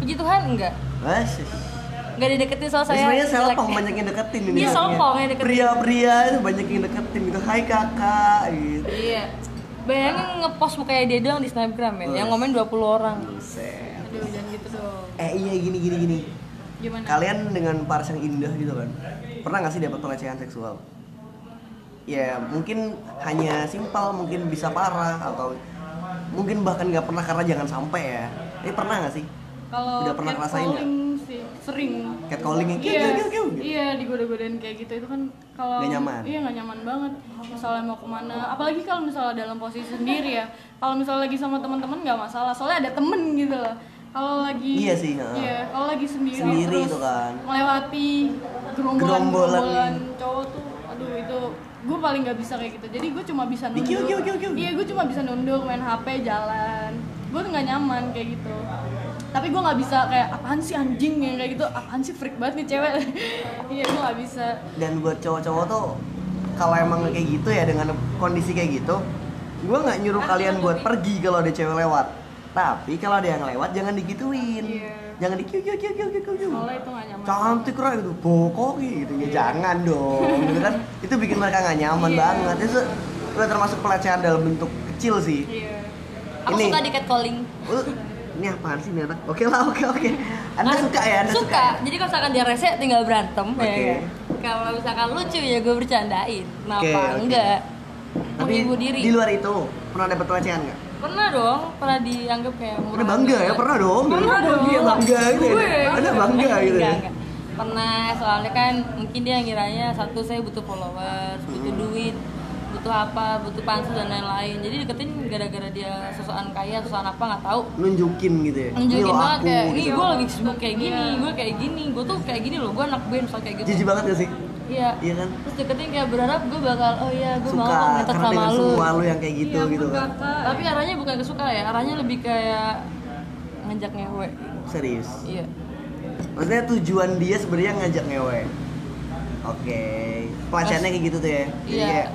Speaker 5: Puji Tuhan enggak.
Speaker 3: Wah, sih.
Speaker 5: Enggak dideketin sama saya.
Speaker 3: Sebenarnya
Speaker 5: jelek.
Speaker 3: selpong banyak yang deketin ini.
Speaker 5: Iya,
Speaker 3: katanya.
Speaker 5: selpong yang deketin.
Speaker 3: Pria-pria itu banyak yang deketin gitu. Hai kakak gitu.
Speaker 5: Iya. Bayangin ngepost mukanya dia doang di Snapgram ya.
Speaker 3: Iya.
Speaker 5: Yang komen 20 orang.
Speaker 3: Buset.
Speaker 4: Aduh, jangan gitu dong.
Speaker 3: Eh iya gini gini gini.
Speaker 4: Gimana?
Speaker 3: Kalian dengan paras yang indah gitu kan. Pernah gak sih dapat pelecehan seksual? Ya mungkin hanya simpel, mungkin bisa parah atau mungkin bahkan nggak pernah karena jangan sampai ya. Tapi pernah gak sih?
Speaker 4: Kalau
Speaker 3: Udah pernah ngerasain
Speaker 4: catcalling sih sering
Speaker 3: Catcalling yang kiu,
Speaker 4: Iya,
Speaker 3: kiu, kiu, kiu.
Speaker 4: iya digoda-godain kayak gitu itu kan kalau
Speaker 3: gitu. Nggak nyaman.
Speaker 4: iya nggak nyaman banget misalnya mau kemana apalagi kalau misalnya dalam posisi sendiri ya kalau misalnya lagi sama teman-teman nggak masalah soalnya ada temen gitu loh kalau lagi
Speaker 3: Iya sih, ha.
Speaker 4: iya kalau lagi sendiri,
Speaker 3: Sendiri
Speaker 4: terus
Speaker 3: itu kan.
Speaker 4: melewati gerombolan
Speaker 3: Gerombolan.
Speaker 4: gerombolan cowok tuh aduh itu gue paling nggak bisa kayak gitu jadi gue cuma bisa nunduk
Speaker 3: Kiu, kiu, kiu, kiu.
Speaker 4: iya gue cuma bisa nunduk main hp jalan gue tuh nggak nyaman kayak gitu tapi gue nggak bisa kayak apaan sih anjing yang kayak gitu apaan sih freak banget nih cewek iya gue nggak bisa
Speaker 3: dan buat cowok-cowok tuh kalau emang kayak gitu ya dengan kondisi kayak gitu gue nggak nyuruh kalian buat pergi kalau ada cewek lewat tapi kalau ada yang lewat jangan digituin
Speaker 4: Iya.
Speaker 3: jangan di kiu kiu kiu kiu kiu kiu
Speaker 4: soalnya itu nggak nyaman
Speaker 3: cantik keren gitu bokok gitu ya jangan dong gitu kan itu bikin mereka nggak nyaman
Speaker 4: Iya.
Speaker 3: banget itu udah termasuk pelecehan dalam bentuk kecil sih
Speaker 4: iya
Speaker 5: Aku
Speaker 3: Ini.
Speaker 5: suka di catcalling.
Speaker 3: Lu, ini apaan sih nih anak oke lah oke oke anda
Speaker 5: Kan-
Speaker 3: suka ya anda suka,
Speaker 5: suka. Jadi kalau misalkan dia rese tinggal berantem ya
Speaker 3: Oke.
Speaker 5: kan? Kalau misalkan lucu ya gue bercandain. Kenapa
Speaker 3: Oke, oke.
Speaker 5: enggak?
Speaker 3: tapi
Speaker 5: Menghibur diri.
Speaker 3: di luar itu pernah dapet pelecehan nggak
Speaker 5: Pernah dong, pernah dianggap kayak
Speaker 3: Udah
Speaker 5: murah
Speaker 3: bangga ya,
Speaker 5: banget.
Speaker 3: pernah dong.
Speaker 5: Pernah dong.
Speaker 3: Iya, bangga gitu. ya.
Speaker 5: Gue.
Speaker 3: Anda bangga
Speaker 5: Enggak,
Speaker 3: gitu. ya.
Speaker 5: enggak, enggak. Pernah, soalnya kan mungkin dia ngiranya satu saya butuh followers, butuh
Speaker 3: Hmm.
Speaker 5: duit, butuh apa, butuh pansu dan lain-lain. Jadi deketin gara-gara dia sosokan kaya, sosokan apa nggak tahu.
Speaker 3: Nunjukin gitu ya.
Speaker 5: Nunjukin
Speaker 3: Ini loh
Speaker 5: banget
Speaker 3: aku,
Speaker 5: kayak, iya. nih
Speaker 3: gitu.
Speaker 5: gue lagi sibuk kayak gini,
Speaker 4: Iya.
Speaker 5: gue kayak gini, gue tuh kayak gini loh, gue anak band soal kayak gitu.
Speaker 3: Jijik banget gak sih?
Speaker 5: Iya.
Speaker 3: Iya kan?
Speaker 5: Terus deketin kayak berharap gue bakal, oh iya gue mau
Speaker 3: Suka
Speaker 5: kok ngetet
Speaker 3: karena
Speaker 5: sama
Speaker 3: dengan
Speaker 5: lu.
Speaker 3: semua lu yang kayak gitu
Speaker 4: Iya,
Speaker 3: gitu kan.
Speaker 4: berkata,
Speaker 5: Tapi arahnya bukan ke suka ya, arahnya lebih kayak ngajak ngewe.
Speaker 3: Serius.
Speaker 5: Iya.
Speaker 3: Maksudnya tujuan dia sebenarnya ngajak ngewe. Oke. Pelacannya kayak gitu tuh ya. Jadi
Speaker 5: Iya.
Speaker 3: kayak-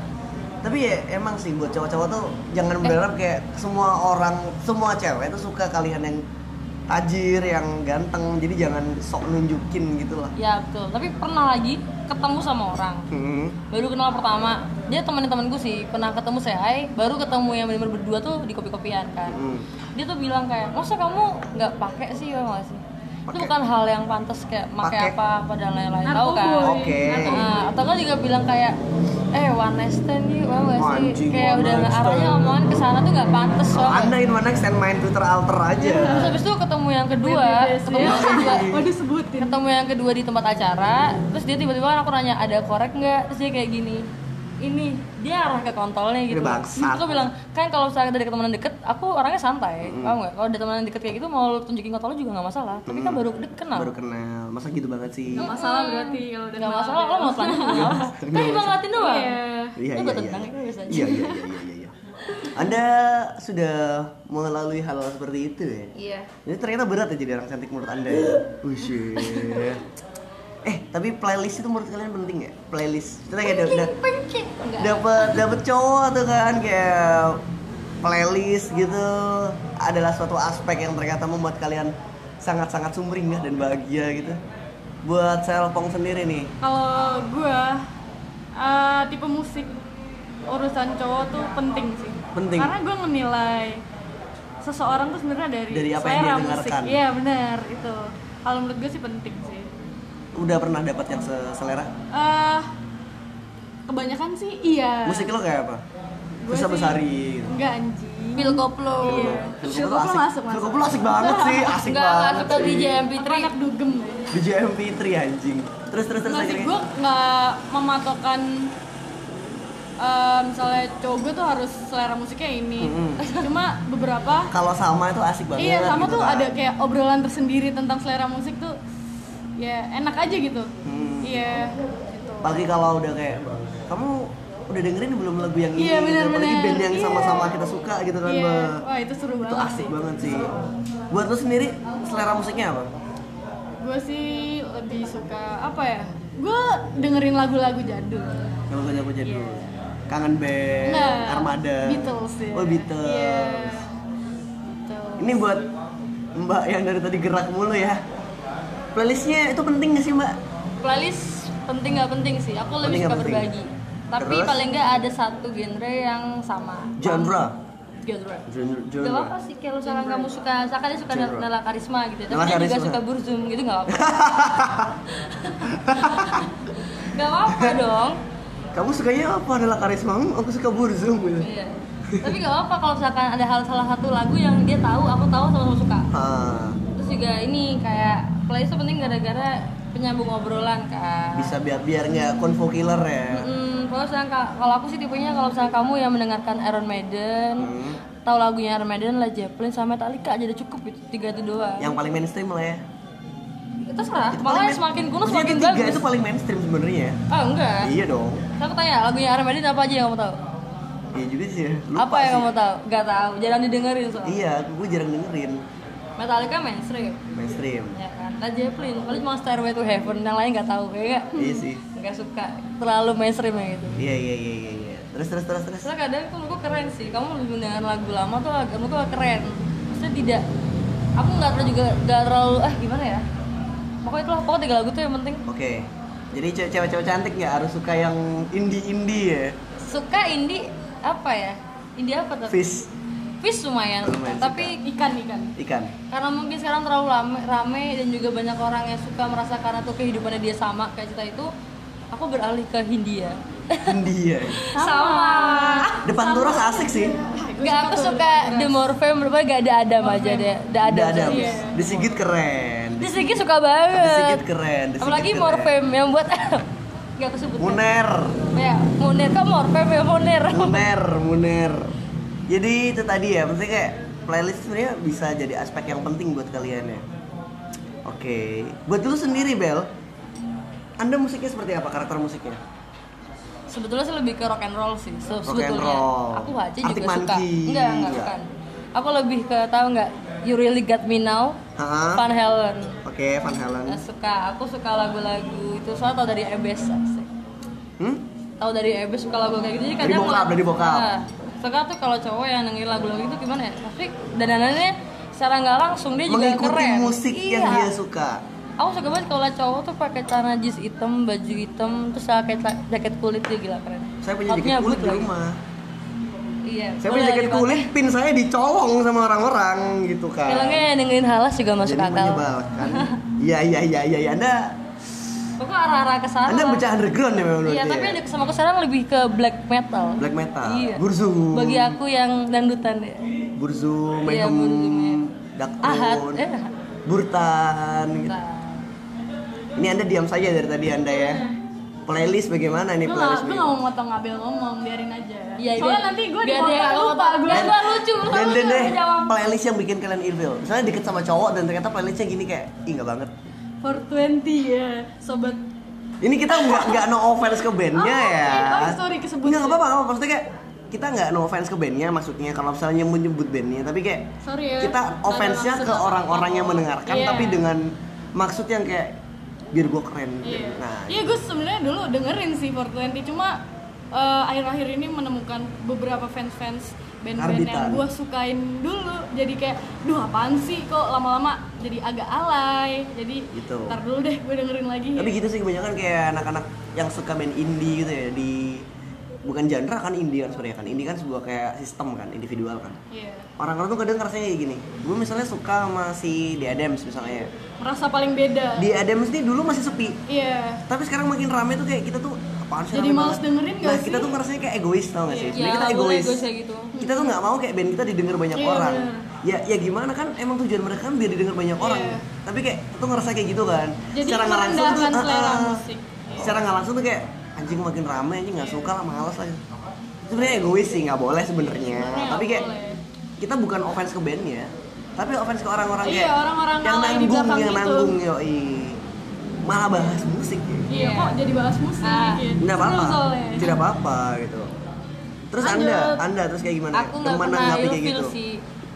Speaker 3: tapi ya emang sih buat cowok-cowok tuh jangan berharap kayak semua orang, semua cewek tuh suka kalian yang tajir, yang ganteng. Jadi jangan sok nunjukin gitu lah.
Speaker 5: Ya betul. Tapi pernah lagi ketemu sama orang.
Speaker 3: Hmm.
Speaker 5: Baru kenal pertama. Dia temen temanku sih. Pernah ketemu saya, hai. baru ketemu yang benar berdua tuh di kopi-kopian kan.
Speaker 3: Hmm.
Speaker 5: Dia tuh bilang kayak, masa kamu nggak pakai sih ya nggak sih? Itu
Speaker 3: Pakai.
Speaker 5: bukan hal yang pantas kayak
Speaker 3: Pakai.
Speaker 5: pakai apa apa dan lain-lain tahu
Speaker 4: narkoboy
Speaker 5: kan?
Speaker 3: Oke.
Speaker 5: Nah, atau kan juga bilang kayak eh one night stand nih, wah nggak sih
Speaker 3: Anjing,
Speaker 5: kayak
Speaker 3: one
Speaker 5: udah
Speaker 3: night
Speaker 5: arahnya
Speaker 3: stand. Oh,
Speaker 5: omongan ke sana tuh nggak pantas
Speaker 3: Kalau
Speaker 5: loh.
Speaker 3: anda in one night stand main Twitter alter aja.
Speaker 5: Terus habis itu ketemu yang kedua,
Speaker 4: BBBS,
Speaker 5: ketemu
Speaker 4: ya.
Speaker 5: yang kedua,
Speaker 4: waduh sebutin
Speaker 5: ketemu yang kedua di tempat acara terus dia tiba-tiba kan aku nanya ada korek nggak terus dia kayak gini ini dia arah ke kontolnya gitu
Speaker 3: Ini bangsat.
Speaker 5: aku bilang kan kalau misalnya dari temenan deket aku orangnya santai paham nggak kalau dari temenan deket kayak gitu mau lu tunjukin kontolnya juga nggak masalah tapi kan baru deket kenal Ah,
Speaker 3: Baru kenal, masa gitu banget sih?
Speaker 4: nggak masalah berarti kalau udah
Speaker 5: nggak masalah lo mau tanya juga nggak apa kan cuma ngeliatin doang
Speaker 4: Iya.
Speaker 3: Iya
Speaker 5: Ini
Speaker 3: iya
Speaker 5: gua
Speaker 3: iya.
Speaker 5: tendang, ini biasa aja.
Speaker 3: Iya iya iya iya. iya. Anda sudah melalui hal, hal seperti itu ya?
Speaker 5: iya
Speaker 3: Ini ternyata berat ya jadi orang cantik menurut anda ya? Wih, Eh tapi playlist itu menurut kalian penting nggak? Playlist kita kayak udah- udah
Speaker 5: pencing enggak
Speaker 3: dapat dapat cowok tuh kan kayak playlist gitu adalah suatu aspek yang ternyata membuat kalian sangat-sangat sumringah dan bahagia gitu. Buat Selpong sendiri nih,
Speaker 4: kalau gue eh, tipe musik urusan cowok tuh penting sih
Speaker 3: Penting.
Speaker 4: karena gue menilai seseorang tuh sebenarnya dari,
Speaker 3: Dari apa yang dia
Speaker 4: selera musik
Speaker 3: dengarkan.
Speaker 4: iya benar itu kalau menurut gue sih penting sih
Speaker 3: udah pernah dapat yang selera?
Speaker 4: eh kebanyakan sih iya
Speaker 3: Musik lo kayak apa?
Speaker 4: Gua
Speaker 3: Bisa
Speaker 4: sih-
Speaker 3: besari.
Speaker 4: enggak anjing
Speaker 5: pil koplo
Speaker 4: Iya. Filkoplo masuk, masuk.
Speaker 3: Filkoplo asik banget sih, asik
Speaker 5: enggak enggak
Speaker 3: banget. iya.
Speaker 5: suka
Speaker 3: sih.
Speaker 5: DJ MP3
Speaker 4: Aku anak dugem
Speaker 3: DJ MP3 anjing. Terus terus terus
Speaker 4: Masih
Speaker 3: akhirnya.
Speaker 4: gue nggak mematokan eh, misalnya cowok gue tuh harus selera musiknya ini cuma beberapa
Speaker 3: Kalau sama itu asik banget.
Speaker 4: Iya sama
Speaker 3: gitu
Speaker 4: tuh
Speaker 3: kan.
Speaker 4: ada kayak obrolan tersendiri tentang selera musik tuh ya enak aja gitu.
Speaker 3: Hmm.
Speaker 4: Iya. gitu.
Speaker 3: Apalagi kalau udah kayak kamu udah dengerin belum lagu yang ini?
Speaker 4: Iya,
Speaker 3: gitu. Apalagi
Speaker 4: benar-benar.
Speaker 3: band yang
Speaker 4: Iya.
Speaker 3: sama-sama kita suka gitu kan,
Speaker 4: Iya.
Speaker 3: Mbak.
Speaker 4: Wah itu seru
Speaker 3: Itu
Speaker 4: banget.
Speaker 3: asik banget sih. Buat lo sendiri selera musiknya apa?
Speaker 4: Gue sih lebih suka apa ya? Gue dengerin lagu-lagu jadul.
Speaker 3: Yang lagu aku jadi Kangen Band,
Speaker 4: Nah,
Speaker 3: Armada.
Speaker 4: Iya. Beatles ya.
Speaker 3: Oh, Beatles.
Speaker 4: Iya. Beatles.
Speaker 3: Ini buat Mbak yang dari tadi gerak mulu ya. Playlistnya itu penting gak sih Mbak?
Speaker 5: playlist penting nggak penting sih aku
Speaker 3: Penting
Speaker 5: lebih
Speaker 3: nggak
Speaker 5: suka
Speaker 3: penting?
Speaker 5: berbagi tapi
Speaker 3: Terus?
Speaker 5: paling nggak ada satu genre yang sama
Speaker 3: Genre.
Speaker 5: genre
Speaker 3: Genre.
Speaker 5: Gak
Speaker 3: genre.
Speaker 5: apa-apa sih kalau misalkan kamu suka, misalkan dia suka
Speaker 3: Genre.
Speaker 5: Nala Karisma gitu Tapi
Speaker 3: Nala
Speaker 5: dia juga
Speaker 3: Karisma.
Speaker 5: suka Burzum gitu gak apa-apa Gak apa-apa dong
Speaker 3: Kamu sukanya apa adalah karisma? Hmm, Aku suka Burzum gitu.
Speaker 5: Iya Tapi gak apa-apa kalau misalkan ada hal salah satu lagu yang dia tahu, aku tahu sama-sama suka
Speaker 3: Ah,
Speaker 5: Terus juga ini kayak play itu penting gara-gara penyambung obrolan kan
Speaker 3: Bisa biar biar nggak konvo killer ya.
Speaker 5: Hmm, kalau misalnya ka- kalau aku sih tipenya kalau misalnya kamu yang mendengarkan Iron Maiden,
Speaker 3: Hmm.
Speaker 5: tahu lagunya Iron Maiden, Led Zeppelin sama Metallica aja udah cukup itu tiga itu doang.
Speaker 3: Yang paling mainstream lah ya.
Speaker 5: Itu serah.
Speaker 3: Itu paling
Speaker 5: Malah
Speaker 3: main-
Speaker 5: semakin kuno
Speaker 3: Maksudnya
Speaker 5: semakin
Speaker 3: itu tiga
Speaker 5: bagus.
Speaker 3: itu paling mainstream sebenarnya. ya.
Speaker 5: Oh enggak.
Speaker 3: Iya dong.
Speaker 5: Saya aku tanya lagunya Iron Maiden apa aja yang kamu tahu?
Speaker 3: Iya juga sih. ya. Lupa
Speaker 5: apa yang
Speaker 3: sih.
Speaker 5: kamu tahu? Gak tahu. Jarang didengerin soalnya.
Speaker 3: Iya, gue jarang dengerin
Speaker 5: Metallica mainstream.
Speaker 3: mainstream.
Speaker 5: Ya kan. Led Zeppelin paling cuma Stairway to Heaven yang lain nggak tahu kayak nggak-
Speaker 3: Iya sih.
Speaker 5: nggak suka terlalu mainstream yang itu.
Speaker 3: Iya iya iya iya. iya. Terus terus terus terus.
Speaker 5: Terus kadang tuh menurutku keren sih, kamu mendengar lagu lama tuh agak menurutku agak keren Maksudnya tidak, aku nggak terlalu juga, nggak terlalu, eh gimana ya Pokoknya itulah, pokoknya tiga lagu tuh yang penting
Speaker 3: Oke. Jadi ce- cewek-cewek cantik nggak harus suka yang indie-indie ya.
Speaker 5: Suka indie, apa ya? Indie apa tapi?
Speaker 3: Fish
Speaker 5: Fish lumayan,
Speaker 3: Lumayan
Speaker 5: tapi
Speaker 4: ikan ikan
Speaker 3: ikan.
Speaker 5: karena mungkin sekarang terlalu rame, rame dan juga banyak orang yang suka merasa karena tuh kehidupannya dia sama kayak cerita itu Aku beralih ke Hindia
Speaker 3: India.
Speaker 5: Sama,
Speaker 3: Depan Turas asik sih.
Speaker 5: Gak aku suka The Morphe, berapa gak ada Adam aja deh The Adam,
Speaker 3: Ada ada.
Speaker 5: aja.
Speaker 3: Disigit keren.
Speaker 5: Di Sigi suka banget.
Speaker 3: Disigit keren. Disigit
Speaker 5: Apalagi
Speaker 3: keren.
Speaker 5: Morfem yang buat nggak aku sebut.
Speaker 3: Muner,
Speaker 5: Ya, Muner kok Morfem ya Muner.
Speaker 3: muner, muner. Jadi itu tadi ya, maksudnya kayak playlist sebenarnya bisa jadi aspek yang penting buat kalian ya. Oke, buat lu sendiri Bel, anda musiknya seperti apa karakter musiknya?
Speaker 5: Sebetulnya sih lebih ke rock and roll sih. se-
Speaker 3: Rock and
Speaker 5: sebetulnya.
Speaker 3: roll.
Speaker 5: Aku aja
Speaker 3: Arctic
Speaker 5: juga suka.
Speaker 3: Monkey.
Speaker 5: Enggak, enggak
Speaker 3: Enggak.
Speaker 5: bukan. Aku lebih ke tahu nggak You Really Got Me Now,
Speaker 3: Hah?
Speaker 5: Van Halen.
Speaker 3: Oke, Van Halen.
Speaker 5: Nah, suka, aku suka lagu-lagu itu soalnya tahu dari Ebes asik.
Speaker 3: Hmm?
Speaker 5: Tahu dari Ebes suka lagu kayak gitu jadi
Speaker 3: Dari
Speaker 5: kadang
Speaker 3: bokap, dari bokap.
Speaker 5: Nah, suka tuh kalau cowok yang dengerin lagu-lagu itu gimana ya? Tapi dananannya secara nggak langsung dia juga
Speaker 3: Mengikuti
Speaker 5: keren.
Speaker 3: musik yang
Speaker 5: Iya.
Speaker 3: dia suka.
Speaker 5: Aku suka banget kalau cowok tuh pakai celana jeans hitam, baju hitam, terus pakai ta- jaket kulit dia gila keren.
Speaker 3: Saya punya
Speaker 5: Outnya
Speaker 3: jaket kulit di
Speaker 5: bootleg.
Speaker 3: rumah.
Speaker 5: Iya.
Speaker 3: Saya punya jaket kulit, pin saya dicolong sama orang-orang gitu kan.
Speaker 5: Filmnya yang dengerin halas juga masuk
Speaker 3: Jadi
Speaker 5: akal.
Speaker 3: menyebalkan. Iya iya iya iya. iya. Anda
Speaker 5: Pokoknya arah-arah ke sana.
Speaker 3: Anda
Speaker 5: lah.
Speaker 3: bocah underground ya memang.
Speaker 5: Ah. Iya,
Speaker 3: berarti
Speaker 5: tapi
Speaker 3: ya?
Speaker 5: yang deket sama aku sekarang lebih ke black metal.
Speaker 3: black metal,
Speaker 5: Iya.
Speaker 3: burzu,
Speaker 5: Bagi aku yang dangdutan ya.
Speaker 3: burzu,
Speaker 5: Iya,
Speaker 3: mayhem,
Speaker 5: burzu, mayhem. Ahad,
Speaker 3: dakton,
Speaker 5: eh.
Speaker 3: burtan. gitu. Ini anda diam saja dari tadi anda ya. Playlist bagaimana nih
Speaker 4: gue gak,
Speaker 3: playlist?
Speaker 4: gue gak mau motong Abel ngomong biarin aja
Speaker 5: Iya,
Speaker 4: soalnya
Speaker 5: biar-
Speaker 4: nanti gue
Speaker 5: biar dia
Speaker 4: dipotong
Speaker 5: nggak
Speaker 4: lupa
Speaker 5: ngomong.
Speaker 4: gue
Speaker 5: Dan-
Speaker 4: gue lucu lu
Speaker 3: Dan
Speaker 4: lucu
Speaker 3: dan deh,
Speaker 4: lu jawab
Speaker 3: playlist yang bikin kalian ilfil. Misalnya deket sama cowok dan ternyata playlistnya gini kayak, ih nggak banget.
Speaker 4: 420 ya sobat
Speaker 3: Ini kita nggak nggak no offense ke bandnya
Speaker 4: Oh, oke.
Speaker 3: ya.
Speaker 4: Oh, sorry, kesebut.
Speaker 3: Nggak nggak apa-apa, nggak apa-apa. Maksudnya kayak kita nggak no offense ke bandnya maksudnya kalau misalnya nyebut nyebut bandnya tapi kayak
Speaker 4: Sorry ya,
Speaker 3: kita
Speaker 4: nggak ada
Speaker 3: offense-nya
Speaker 4: maksud
Speaker 3: ke
Speaker 4: apa-apa.
Speaker 3: orang-orang yang mendengarkan
Speaker 4: Iya.
Speaker 3: tapi dengan maksud yang kayak biar gue keren
Speaker 4: iya
Speaker 3: nah
Speaker 4: iya gue sebenarnya dulu dengerin sih 420 cuma eh, akhir-akhir ini menemukan beberapa fans-fans band-band
Speaker 3: Karbitan.
Speaker 4: yang gue sukain dulu jadi kayak duh apaan sih kok lama-lama jadi agak alay jadi
Speaker 3: Gitu.
Speaker 4: ntar dulu deh gue dengerin lagi ya.
Speaker 3: tapi gitu sih kebanyakan kayak anak-anak yang suka main indie gitu ya di bukan genre kan indie kan sebenarnya kan indie kan sebuah kayak sistem kan individual kan
Speaker 4: Iya.
Speaker 3: orang-orang tuh kadang ngerasanya kayak gini gue misalnya suka sama si The Adams misalnya ya.
Speaker 4: merasa paling beda
Speaker 3: The Adams nih dulu masih sepi
Speaker 4: iya
Speaker 3: tapi sekarang makin rame tuh kayak kita tuh apaan sih
Speaker 4: Jadi
Speaker 3: rame
Speaker 4: males
Speaker 3: banget?"
Speaker 4: dengerin nggak
Speaker 3: nah, kita
Speaker 4: sih?
Speaker 3: tuh ngerasanya kayak egois tau gak sih
Speaker 5: Iya,
Speaker 3: Sebenarnya kita
Speaker 5: boleh
Speaker 3: egois
Speaker 5: egois kayak gitu.
Speaker 3: kita tuh nggak mau kayak band kita didengar banyak
Speaker 4: Iya,
Speaker 3: orang ya ya gimana kan emang tujuan mereka kan biar didengar banyak orang tapi kayak kita tuh ngerasa kayak gitu kan
Speaker 4: Iya. Jadi
Speaker 3: secara nggak langsung tuh
Speaker 4: merendahkan
Speaker 3: "Ah,
Speaker 4: selera
Speaker 3: ah."
Speaker 4: musik.
Speaker 3: secara nggak langsung tuh kayak anjing makin rame anjing nggak suka lah males lah sebenarnya egois sih nggak boleh sebenarnya
Speaker 4: nggak
Speaker 3: tapi kayak
Speaker 4: boleh.
Speaker 3: kita bukan offense ke bandnya tapi offense ke orang-orang
Speaker 4: Iya,
Speaker 3: kayak
Speaker 4: orang-orang
Speaker 3: yang
Speaker 4: alay di
Speaker 3: nanggung
Speaker 4: belakang
Speaker 3: yang
Speaker 4: gitu.
Speaker 3: nanggung yoi malah bahas musik ya.
Speaker 4: iya
Speaker 5: Iya.
Speaker 4: kok jadi bahas musik
Speaker 5: Ah.
Speaker 4: ya.
Speaker 3: Tidak apa-apa.
Speaker 4: Seru soalnya.
Speaker 3: Tidak apa-apa gitu. Terus Anda,
Speaker 5: Lanjut.
Speaker 3: Anda terus kayak gimana?
Speaker 5: Aku nggak
Speaker 3: Yang mana
Speaker 5: pernah
Speaker 3: nanggapi
Speaker 5: ilfil sih.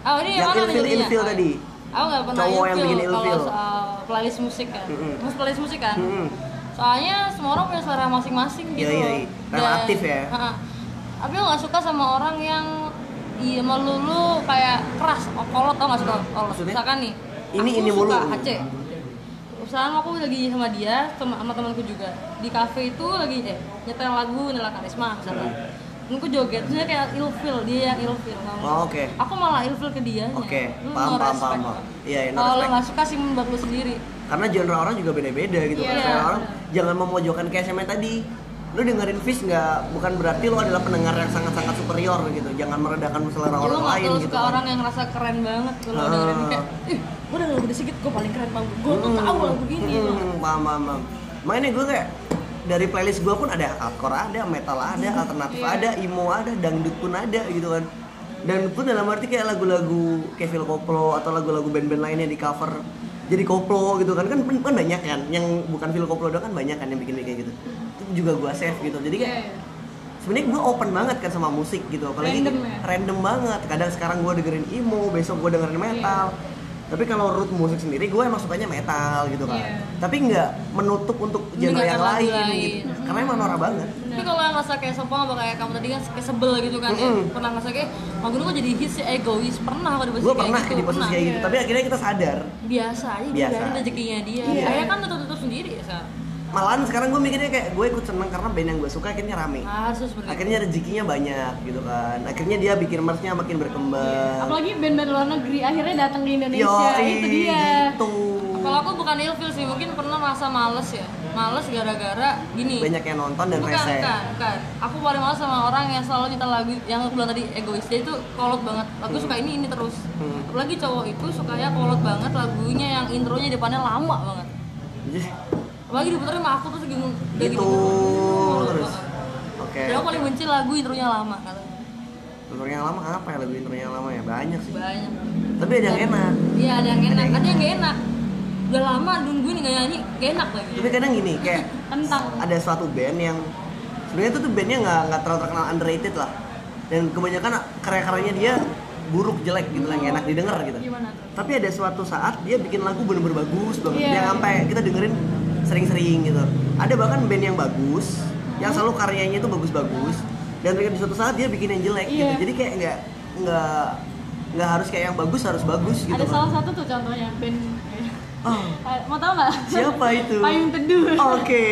Speaker 5: Oh
Speaker 3: gitu. Yang
Speaker 5: ini yang, mana
Speaker 3: ilfil-
Speaker 5: nih? jadinya?
Speaker 3: ilfil
Speaker 5: Oh,
Speaker 3: tadi.
Speaker 5: Aku nggak pernah
Speaker 3: Cowok yang bikin
Speaker 5: ilfil
Speaker 3: ilfil.
Speaker 5: kalau soal playlist musik kan.
Speaker 3: Mm-mm.
Speaker 5: Mus playlist musik kan.
Speaker 3: Mm-mm.
Speaker 5: Soalnya semua orang punya selera masing-masing
Speaker 3: Iya,
Speaker 5: gitu.
Speaker 3: iya,
Speaker 5: loh.
Speaker 3: iya. Relatif
Speaker 5: Dan-
Speaker 3: ya.
Speaker 5: Ha-ha. Tapi aku nggak suka sama orang yang iya melulu kayak keras, oh, kolot tau nggak suka kolot.
Speaker 3: Maksudnya?
Speaker 5: Misalkan nih,
Speaker 3: Ini-
Speaker 5: aku
Speaker 3: ini
Speaker 5: suka
Speaker 3: mulu.
Speaker 5: Aceh. Misalnya aku lagi sama dia, sama, sama temanku juga di kafe itu lagi eh nyetel lagu Nela Karisma misalkan. Ini aku joget, terus dia kayak ilfil, dia yang ilfil. nggak mau.
Speaker 3: Hmm. Oh, oke.
Speaker 5: Aku malah ilfil ke dia.
Speaker 3: Oke, paham, paham, paham, paham. Iya, iya, no
Speaker 5: Kalau lo
Speaker 3: respect.
Speaker 5: nggak suka sih menurut lu sendiri.
Speaker 3: Karena genre orang juga beda-beda gitu kan.
Speaker 5: Iya.
Speaker 3: Selera orang jangan memojokkan kayak SMA tadi. lu dengerin Fish nggak bukan berarti lu adalah pendengar yang sangat-sangat superior gitu jangan meredakan selera
Speaker 5: Jadi
Speaker 3: orang
Speaker 5: gue gak
Speaker 3: lain
Speaker 5: terlalu
Speaker 3: gitu
Speaker 5: suka
Speaker 3: kan.
Speaker 5: orang yang ngerasa keren banget kalau
Speaker 3: Ah.
Speaker 5: dengerin kayak Ih, gue udah gede sedikit, gue paling keren banget Gue tuh tau lagu gini
Speaker 3: Hmm, paham, paham, paham. Makanya gue kayak dari playlist gue pun ada hardcore ada, metal ada, alternatif
Speaker 5: Iya.
Speaker 3: ada, emo ada, dangdut pun ada gitu kan. Dan pun dalam arti kayak lagu-lagu Kevin Koplo atau lagu-lagu band-band lainnya di cover jadi koplo gitu kan kan kan banyak kan yang bukan Phil Koplo doang kan banyak kan yang bikin kayak gitu. Itu juga gue save gitu. Jadi kayak
Speaker 5: Iya, iya.
Speaker 3: sebenarnya gue open banget kan sama musik gitu apalagi
Speaker 5: Random ya?
Speaker 3: random banget kadang sekarang gue dengerin emo besok gue
Speaker 5: Iya.
Speaker 3: dengerin metal tapi kalau root musik sendiri gue emang sukanya metal gitu kan
Speaker 5: Iya.
Speaker 3: tapi nggak menutup untuk genre yang
Speaker 5: Mendengarkan lagu
Speaker 3: lain,
Speaker 5: lain. Hmm.
Speaker 3: gitu karena emang norak banget
Speaker 5: Tapi kalau yang ngerasa kayak sopong apa kayak kamu tadi kan kayak sebel gitu kan ya
Speaker 3: Mm-mm.
Speaker 5: Pernah ngerasa kayak, lagu ini kok jadi hits ya, egois Pernah kalau di posisi
Speaker 3: gue
Speaker 5: kayak
Speaker 3: pernah
Speaker 5: gitu,
Speaker 3: di posisi
Speaker 5: pernah.
Speaker 3: kayak gitu tapi akhirnya kita sadar
Speaker 5: Biasa aja,
Speaker 3: Biasa.
Speaker 5: biasa. rezekinya dia
Speaker 3: Iya.
Speaker 5: Ayah kan tutup-tutup sendiri ya, Sa
Speaker 3: malahan sekarang gue mikirnya kayak gue ikut seneng karena band yang gue suka akhirnya rame
Speaker 5: Harus sebenernya
Speaker 3: akhirnya rezekinya banyak gitu kan akhirnya dia bikin merchnya makin berkembang
Speaker 4: Apalagi band-band luar negeri akhirnya datang
Speaker 5: Iya,
Speaker 4: ke Indonesia.
Speaker 3: Yoi,
Speaker 4: itu dia.
Speaker 3: gitu.
Speaker 5: Kalau aku bukan ilfil sih, mungkin pernah merasa males ya Males gara-gara gini
Speaker 3: banyak yang nonton dan
Speaker 5: bukan,
Speaker 3: rese
Speaker 5: bukan, bukan. Aku paling males sama orang yang selalu nyetel lagu yang aku bilang tadi egois. Dia itu kolot banget. Aku suka ini ini terus.
Speaker 3: Hmm.
Speaker 5: Apalagi cowok itu sukanya kolot banget lagunya yang intronya depannya lama banget. Apalagi diputerin sama aku terus gini udah gini
Speaker 3: gitu
Speaker 5: kolot
Speaker 3: terus
Speaker 5: banget.
Speaker 3: oke
Speaker 5: Dan aku paling benci lagu intronya lama katanya.
Speaker 3: intronya yang lama apa ya lagu intronya yang lama ya banyak sih
Speaker 5: Banyak.
Speaker 3: tapi ada yang enak
Speaker 5: Iya ada yang enak, ada yang gak enak. Udah lama nungguin nggak nyanyi, gak enak lagi.
Speaker 3: tapi kadang gini kayak
Speaker 4: Tentang
Speaker 3: ada suatu band yang sebenarnya itu tuh bandnya nggak nggak terlalu terkenal underrated lah dan kebanyakan karya-karyanya dia buruk jelek gitu lah nggak enak didengar gitu
Speaker 4: gimana tuh?
Speaker 3: tapi ada suatu saat dia bikin lagu bener-bener bagus banget
Speaker 4: Iya.
Speaker 3: yang sampai kita dengerin sering-sering gitu ada bahkan band yang bagus yang selalu karyanya itu bagus-bagus dan ternyata di suatu saat dia bikin yang jelek
Speaker 4: Iya.
Speaker 3: gitu jadi kayak nggak nggak nggak harus kayak yang bagus harus bagus gitu
Speaker 4: ada
Speaker 3: kan.
Speaker 4: salah satu tuh contohnya band
Speaker 3: Oh,
Speaker 4: Eh, mau tau nggak?
Speaker 3: siapa itu
Speaker 4: Payung Teduh.
Speaker 3: oke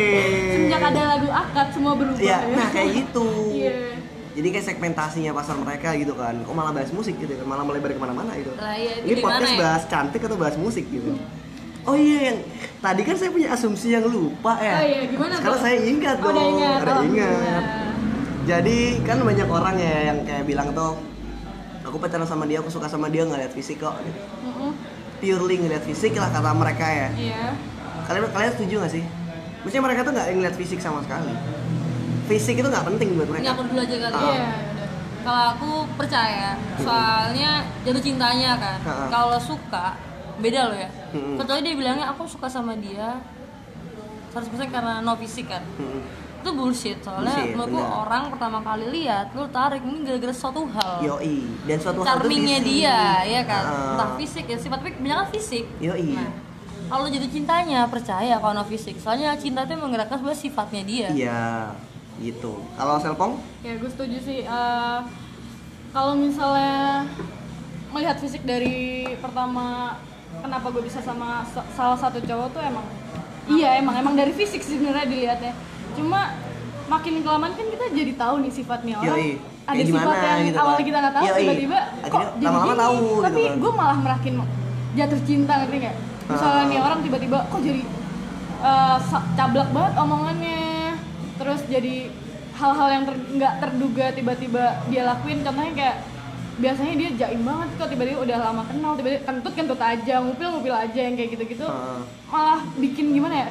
Speaker 4: Sejak ada lagu akad semua berubah.
Speaker 3: ya nah kayak gitu
Speaker 4: Iya.
Speaker 3: jadi kayak segmentasinya pasar mereka gitu kan kok malah bahas musik gitu kan malah melebar kemana-mana gitu
Speaker 5: Lah, iya, itu
Speaker 3: ini
Speaker 5: di
Speaker 3: podcast
Speaker 5: mana ya?
Speaker 3: bahas cantik atau bahas musik gitu oh iya yang tadi kan saya punya asumsi yang lupa ya
Speaker 4: Oh iya, gimana,
Speaker 3: sekarang
Speaker 4: Bang?
Speaker 3: saya ingat
Speaker 4: Oh,
Speaker 3: dong
Speaker 4: udah ingat.
Speaker 3: Udah
Speaker 4: Oh,
Speaker 3: ingat.
Speaker 4: iya.
Speaker 3: jadi kan banyak orang ya yang kayak bilang tuh aku pacaran sama dia aku suka sama dia nggak lihat fisik kok gitu.
Speaker 4: Mm-mm.
Speaker 3: purely ngeliat fisik lah kata mereka ya
Speaker 4: Iya.
Speaker 3: kalian kalian setuju nggak sih maksudnya mereka tuh nggak ngeliat fisik sama sekali fisik itu nggak penting buat
Speaker 5: Ini
Speaker 3: mereka
Speaker 5: aku dulu aja kali.
Speaker 3: Ah.
Speaker 5: ya.
Speaker 4: Iya, udah.
Speaker 5: Kalau aku percaya, soalnya jatuh cintanya kan.
Speaker 3: Ha-ha.
Speaker 5: Kalau suka beda loh ya.
Speaker 3: Mm-mm.
Speaker 5: Kecuali dia bilangnya aku suka sama dia 100% karena no fisik kan.
Speaker 3: Mm-mm.
Speaker 5: Itu bullshit. Soalnya
Speaker 3: Bullshit,
Speaker 5: menurutku
Speaker 3: benar.
Speaker 5: orang pertama kali lihat lu tarik ini gara-gara suatu hal.
Speaker 3: Yoi, dan suatu hal itu
Speaker 5: Oh. Charmingnya
Speaker 3: fisik.
Speaker 5: dia, ya kan.
Speaker 3: Ah.
Speaker 5: Entah fisik ya sifat tapi kebanyakan fisik.
Speaker 3: Yoi.
Speaker 5: Nah, kalau jatuh cintanya percaya kalau no fisik. Soalnya cinta itu menggerakkan sebenarnya sifatnya dia.
Speaker 3: Iya, gitu. Kalau selpong?
Speaker 4: Ya gue setuju sih. Eh, kalau misalnya melihat fisik dari pertama kenapa gue bisa sama sa- salah satu cowok tuh emang iya emang emang dari fisik sih sebenarnya dilihatnya. Cuma makin kelamaan kan kita jadi tahu nih sifatnya orang.
Speaker 3: Yoi.
Speaker 4: Ada
Speaker 3: Kayak
Speaker 4: sifat
Speaker 3: gimana
Speaker 4: yang
Speaker 3: gitu kan.
Speaker 4: awalnya kita nggak tahu
Speaker 3: Yoi.
Speaker 4: tiba-tiba kok
Speaker 3: Akhirnya
Speaker 4: jadi
Speaker 3: lama-lama
Speaker 4: gini?
Speaker 3: tahu gitu
Speaker 4: Tapi
Speaker 3: kan.
Speaker 4: gue malah merakin jatuh cinta ngerti nggak? Misalnya
Speaker 3: Ah.
Speaker 4: nih orang tiba-tiba kok jadi eh, sa- cablak banget omongannya terus jadi hal-hal yang ter- nggak terduga tiba-tiba dia lakuin contohnya kayak biasanya dia jaim banget kok tiba-tiba udah lama kenal tiba-tiba kentut kentut aja ngupil ngupil aja yang kayak gitu-gitu
Speaker 3: Ah.
Speaker 4: malah bikin gimana ya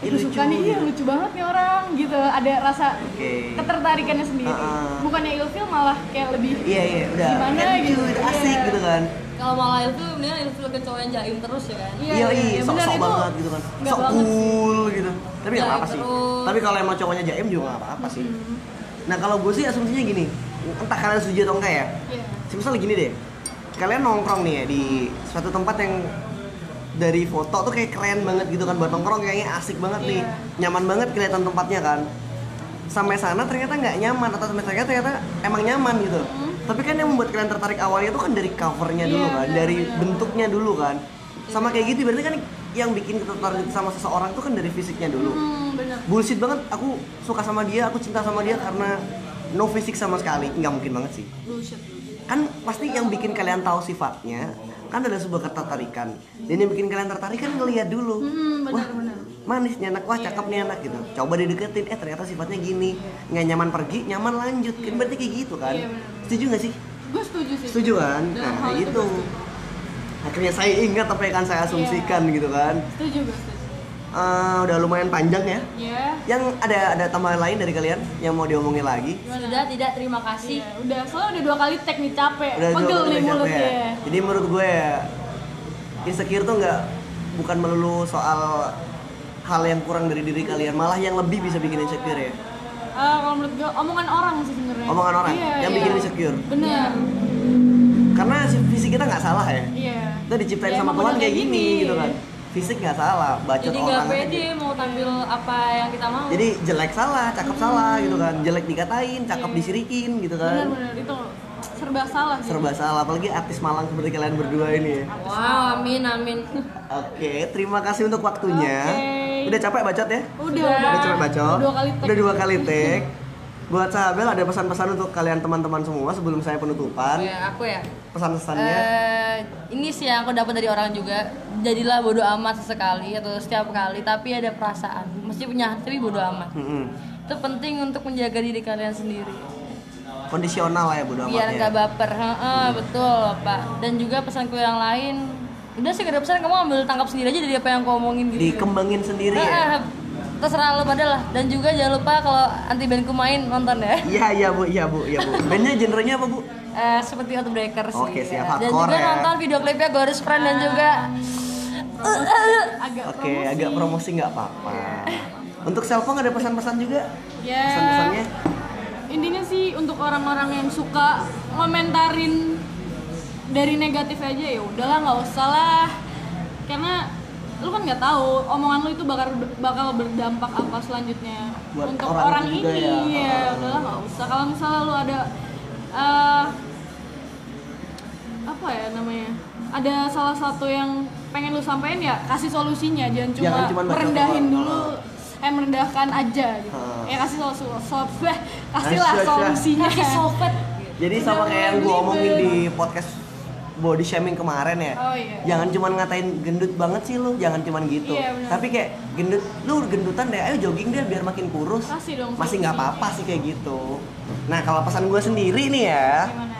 Speaker 3: Ih,
Speaker 4: Ih,
Speaker 3: lucu
Speaker 4: suka nih, iya
Speaker 3: gitu.
Speaker 4: lucu banget nih orang gitu ada rasa
Speaker 3: Oke.
Speaker 4: ketertarikannya sendiri
Speaker 3: Ah, ah.
Speaker 4: bukannya ilfil malah kayak lebih
Speaker 3: Iya, iya, udah.
Speaker 4: Gimana
Speaker 3: Kan
Speaker 4: gitu,
Speaker 3: cute, asik
Speaker 4: iya.
Speaker 3: gitu kan.
Speaker 5: Kalau malah itu mendingan ilfil ke cowok yang jaim terus ya kan.
Speaker 4: Iya,
Speaker 3: Yoi,
Speaker 4: iya, iya,
Speaker 3: sok-sok
Speaker 4: benar, itu
Speaker 3: banget gitu kan.
Speaker 4: nggak
Speaker 3: Sok
Speaker 4: banget.
Speaker 3: cool gitu. Tapi nggak
Speaker 5: Jaim
Speaker 3: apa-apa sih.
Speaker 5: terus.
Speaker 3: Tapi kalau emang cowoknya jaim juga nggak apa-apa sih.
Speaker 4: Mm-hmm.
Speaker 3: Nah, kalau gue sih asumsinya gini, entah kalian setuju atau enggak ya.
Speaker 4: Iya.
Speaker 3: Misalnya gini deh, kalian nongkrong nih ya di suatu tempat yang dari foto tuh kayak keren banget gitu kan buat nongkrong kayaknya asik banget nih,
Speaker 4: Iya.
Speaker 3: nyaman banget kelihatan tempatnya kan. Sampai sana ternyata nggak nyaman atau sampai sana ternyata emang nyaman gitu. Tapi kan yang membuat kalian tertarik awalnya tuh kan dari covernya dulu
Speaker 4: Hmm. Iya,
Speaker 3: kan,
Speaker 4: benar,
Speaker 3: dari
Speaker 4: benar. Iya.
Speaker 3: bentuknya dulu kan. Sama kayak gitu berarti kan yang bikin tertarik sama seseorang tuh kan dari fisiknya dulu
Speaker 4: hmm, bener
Speaker 3: bullshit banget aku suka sama dia aku cinta sama dia karena no fisik sama sekali nggak mungkin banget sih kan pasti yang bikin kalian tahu sifatnya kan ada sebuah ketertarikan dan yang bikin kalian tertarik kan ngelihat dulu
Speaker 4: Hmm,
Speaker 3: Wah,
Speaker 4: benar, benar.
Speaker 3: manis nih anak wah cakep nih anak gitu coba dideketin eh ternyata sifatnya gini nggak nyaman pergi nyaman lanjut kan berarti kayak gitu kan
Speaker 4: Iya, benar.
Speaker 3: setuju nggak sih
Speaker 4: gue setuju sih
Speaker 3: setuju kan
Speaker 4: Dalam
Speaker 3: nah
Speaker 4: hal
Speaker 3: kayak
Speaker 4: itu Iya.
Speaker 3: gitu
Speaker 4: gue setuju.
Speaker 3: akhirnya saya ingat apa yang akan saya asumsikan gitu kan
Speaker 4: setuju gue setuju
Speaker 3: Eh, udah lumayan panjang ya
Speaker 4: ya
Speaker 3: yang ada ada tambahan lain dari kalian yang mau diomongin lagi
Speaker 5: Sudah tidak terima kasih.
Speaker 4: Iya, udah soalnya udah dua kali tag nih capek
Speaker 3: udah dua
Speaker 4: pegel
Speaker 3: kali
Speaker 4: nih
Speaker 3: udah
Speaker 4: mulut
Speaker 3: capek ya.
Speaker 4: ya
Speaker 3: jadi menurut gue ya insecure tuh nggak bukan melulu soal hal yang kurang dari diri kalian malah yang lebih bisa bikin insecure ya
Speaker 4: Eh, kalau menurut gue omongan orang sih sebenarnya
Speaker 3: omongan orang
Speaker 4: Iya,
Speaker 3: yang
Speaker 4: iya.
Speaker 3: bikin Iya. insecure
Speaker 4: bener
Speaker 3: karena si- fisik kita nggak salah ya
Speaker 4: iya
Speaker 3: kita diciptain
Speaker 4: Ya,
Speaker 3: sama
Speaker 4: emang
Speaker 3: Tuhan
Speaker 4: udah
Speaker 3: kayak
Speaker 4: kayak
Speaker 3: gini
Speaker 4: gini.
Speaker 3: gitu kan fisik nggak salah bacot
Speaker 5: Jadi nggak
Speaker 3: orang aja.
Speaker 5: pede mau tampil apa yang kita mau.
Speaker 3: jadi jelek salah cakep
Speaker 4: Hmm.
Speaker 3: salah gitu kan jelek dikatain cakep disirikin gitu
Speaker 4: Iya. bener
Speaker 3: kan
Speaker 4: bener itu serba salah sih
Speaker 3: serba salah apalagi artis Malang seperti kalian berdua ini ya
Speaker 5: Wow, amin amin.
Speaker 3: Oke, terima kasih untuk waktunya.
Speaker 4: Oke.
Speaker 3: Udah capek bacot ya?
Speaker 4: udah
Speaker 3: Udah capek bacot.
Speaker 4: dua kali tag
Speaker 3: Udah dua kali take. Buat Sahabel ada pesan-pesan untuk kalian teman-teman semua sebelum saya penutupan.
Speaker 5: Ya, aku ya.
Speaker 3: Pesan-pesannya.
Speaker 5: Eh, ini sih yang aku dapat dari orang juga. Jadilah bodoh amat sesekali atau setiap kali, tapi ada perasaan. Mesti punya, tapi bodoh amat.
Speaker 3: Mm-mm.
Speaker 5: Itu penting untuk menjaga diri kalian sendiri.
Speaker 3: Kondisional lah ya bodo amat.
Speaker 5: Biar
Speaker 3: ya.
Speaker 5: nggak baper. Heeh, betul, Pak. Dan juga pesanku yang lain, udah sih gak ada pesan kamu ambil tangkap sendiri aja dari apa yang aku omongin gitu.
Speaker 3: Dikembangin sendiri ya.
Speaker 5: Heeh, Eh, terserah lo pada lah. Dan juga jangan lupa kalau anti bandku main nonton ya.
Speaker 3: Iya, iya Bu, iya Bu, iya Bu. Bandnya genrenya apa Bu?
Speaker 5: Eh, seperti Outbreaker sih.
Speaker 3: Oke, siap.
Speaker 5: Dan
Speaker 3: Hardcore
Speaker 5: juga
Speaker 3: ya. Ah.
Speaker 5: nonton video klipnya Goris Friend dan juga Eh,
Speaker 4: agak
Speaker 3: Oke, agak promosi nggak apa-apa. Untuk Selfong ada pesan-pesan juga?
Speaker 4: ya
Speaker 3: Pesan-pesannya?
Speaker 4: intinya sih untuk orang-orang yang suka komentarin dari negatif aja ya udahlah nggak usah lah karena lu kan nggak tahu omongan lu itu bakal bakal berdampak apa selanjutnya
Speaker 3: Buat
Speaker 4: untuk
Speaker 3: orang
Speaker 4: orang,
Speaker 3: itu juga
Speaker 4: ini
Speaker 3: ya.
Speaker 4: ya udahlah nggak usah kalau misalnya lu ada eh, apa ya namanya ada salah satu yang pengen lu sampein ya kasih solusinya jangan cuma,
Speaker 3: Jangan cuma Ya, kan baca
Speaker 4: merendahin
Speaker 3: doang.
Speaker 4: dulu eh merendahkan aja gitu
Speaker 3: Ah.
Speaker 4: ya kasih solusi software kasihlah
Speaker 3: Asyik,
Speaker 4: solusinya
Speaker 5: Kasih sobat.
Speaker 3: Jadi sama kayak yang gue omongin di podcast body shaming kemarin ya.
Speaker 4: Iya. Oh, iya.
Speaker 3: Jangan cuman ngatain gendut banget sih lu, jangan cuman gitu.
Speaker 4: Iya, benar.
Speaker 3: Tapi kayak gendut, lu gendutan deh, ayo jogging deh biar makin kurus.
Speaker 4: Kasih dong
Speaker 3: Masih nggak
Speaker 4: solusinya.
Speaker 3: apa-apa sih kayak gitu. Nah kalau pesan gue sendiri nih ya,
Speaker 4: gimana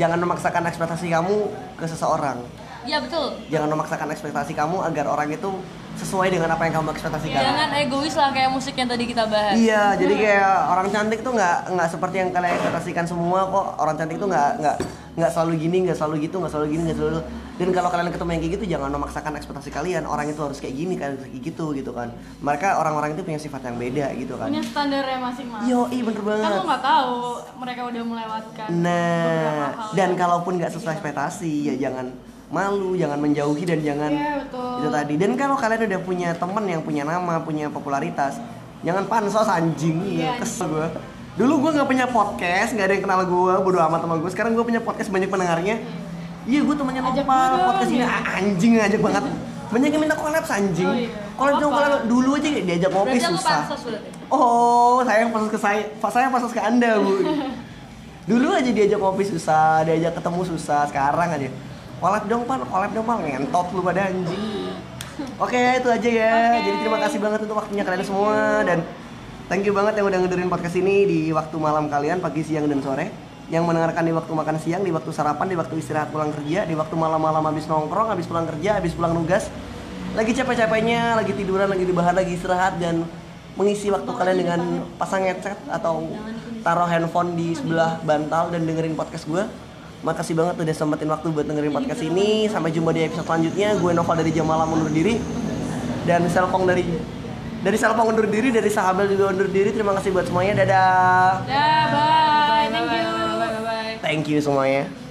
Speaker 3: jangan memaksakan ekspektasi kamu ke seseorang.
Speaker 5: Ya betul.
Speaker 3: Jangan memaksakan ekspektasi kamu agar orang itu sesuai dengan apa yang kamu
Speaker 4: Iya,
Speaker 3: ekspektasikan.
Speaker 5: Jangan egois lah kayak musik yang tadi kita bahas.
Speaker 3: Iya, jadi kayak orang cantik tuh nggak nggak seperti yang kalian ekspektasikan semua kok. Orang cantik tuh nggak nggak nggak selalu gini, nggak selalu gitu, nggak selalu gini, nggak selalu. Dan kalau kalian ketemu yang kayak gitu, jangan memaksakan ekspektasi kalian. Orang itu harus kayak gini, kalian harus kayak gitu gitu kan. Mereka orang-orang itu punya sifat yang beda gitu kan.
Speaker 4: punya standarnya masing-masing
Speaker 3: Yo, iya bener
Speaker 4: kan
Speaker 3: banget.
Speaker 4: lu nggak tahu mereka udah melewatkan beberapa
Speaker 3: Nah,
Speaker 4: hal. iya.
Speaker 3: dan kalaupun nggak sesuai ekspektasi, ya jangan malu, jangan menjauhi dan jangan
Speaker 4: Iya, betul.
Speaker 3: itu tadi. Dan kalau kalian udah punya temen yang punya nama, punya popularitas, jangan pansos anjing,
Speaker 4: Iya,
Speaker 3: kesel gue. Dulu gue nggak punya podcast, nggak ada yang kenal gue, bodo amat sama gue. Sekarang gue punya podcast banyak pendengarnya. Iya, gue temennya
Speaker 4: Ajak
Speaker 3: Nopal,
Speaker 4: gue dong,
Speaker 3: podcast ini
Speaker 4: ya.
Speaker 3: ah, anjing ajak banget. Banyak yang minta collab anjing.
Speaker 4: Oh, iya.
Speaker 3: Collab dong,
Speaker 4: Apa?
Speaker 3: collab dong. dulu aja diajak ngopi
Speaker 5: Berarti aku
Speaker 3: susah.
Speaker 5: pansos berarti.
Speaker 3: Oh, saya yang pasus ke saya, saya yang pasus ke Anda, Bu. Dulu aja diajak ngopi susah, diajak ketemu susah, sekarang aja. Kolab dong, Pan. Kolab dong, Pan. Ngentot lu pada anjing. Oke, itu aja ya.
Speaker 4: Oke.
Speaker 3: Jadi terima kasih banget untuk waktunya kalian semua dan thank you banget yang udah ngedengerin podcast ini di waktu malam kalian, pagi, siang, dan sore. Yang mendengarkan di waktu makan siang, di waktu sarapan, di waktu istirahat pulang kerja, di waktu malam-malam habis nongkrong, habis pulang kerja, habis pulang nugas. Lagi capek-capeknya, lagi tiduran, lagi rebahan, lagi istirahat dan mengisi waktu kalian dengan pasang headset atau taruh handphone di sebelah bantal dan dengerin podcast gue. Makasih banget udah sempetin waktu buat
Speaker 4: Iya,
Speaker 3: dengerin podcast ini. Sampai jumpa di episode selanjutnya. Gue Nova dari Jam Malam undur diri. Dan Selpong dari dari Selpong undur diri, dari Sahabel juga undur diri. Terima kasih buat semuanya. Dadah.
Speaker 4: Dah, bye.
Speaker 5: Bye
Speaker 4: Thank
Speaker 5: bye
Speaker 4: you.
Speaker 5: bye bye. bye.
Speaker 3: Thank you semuanya.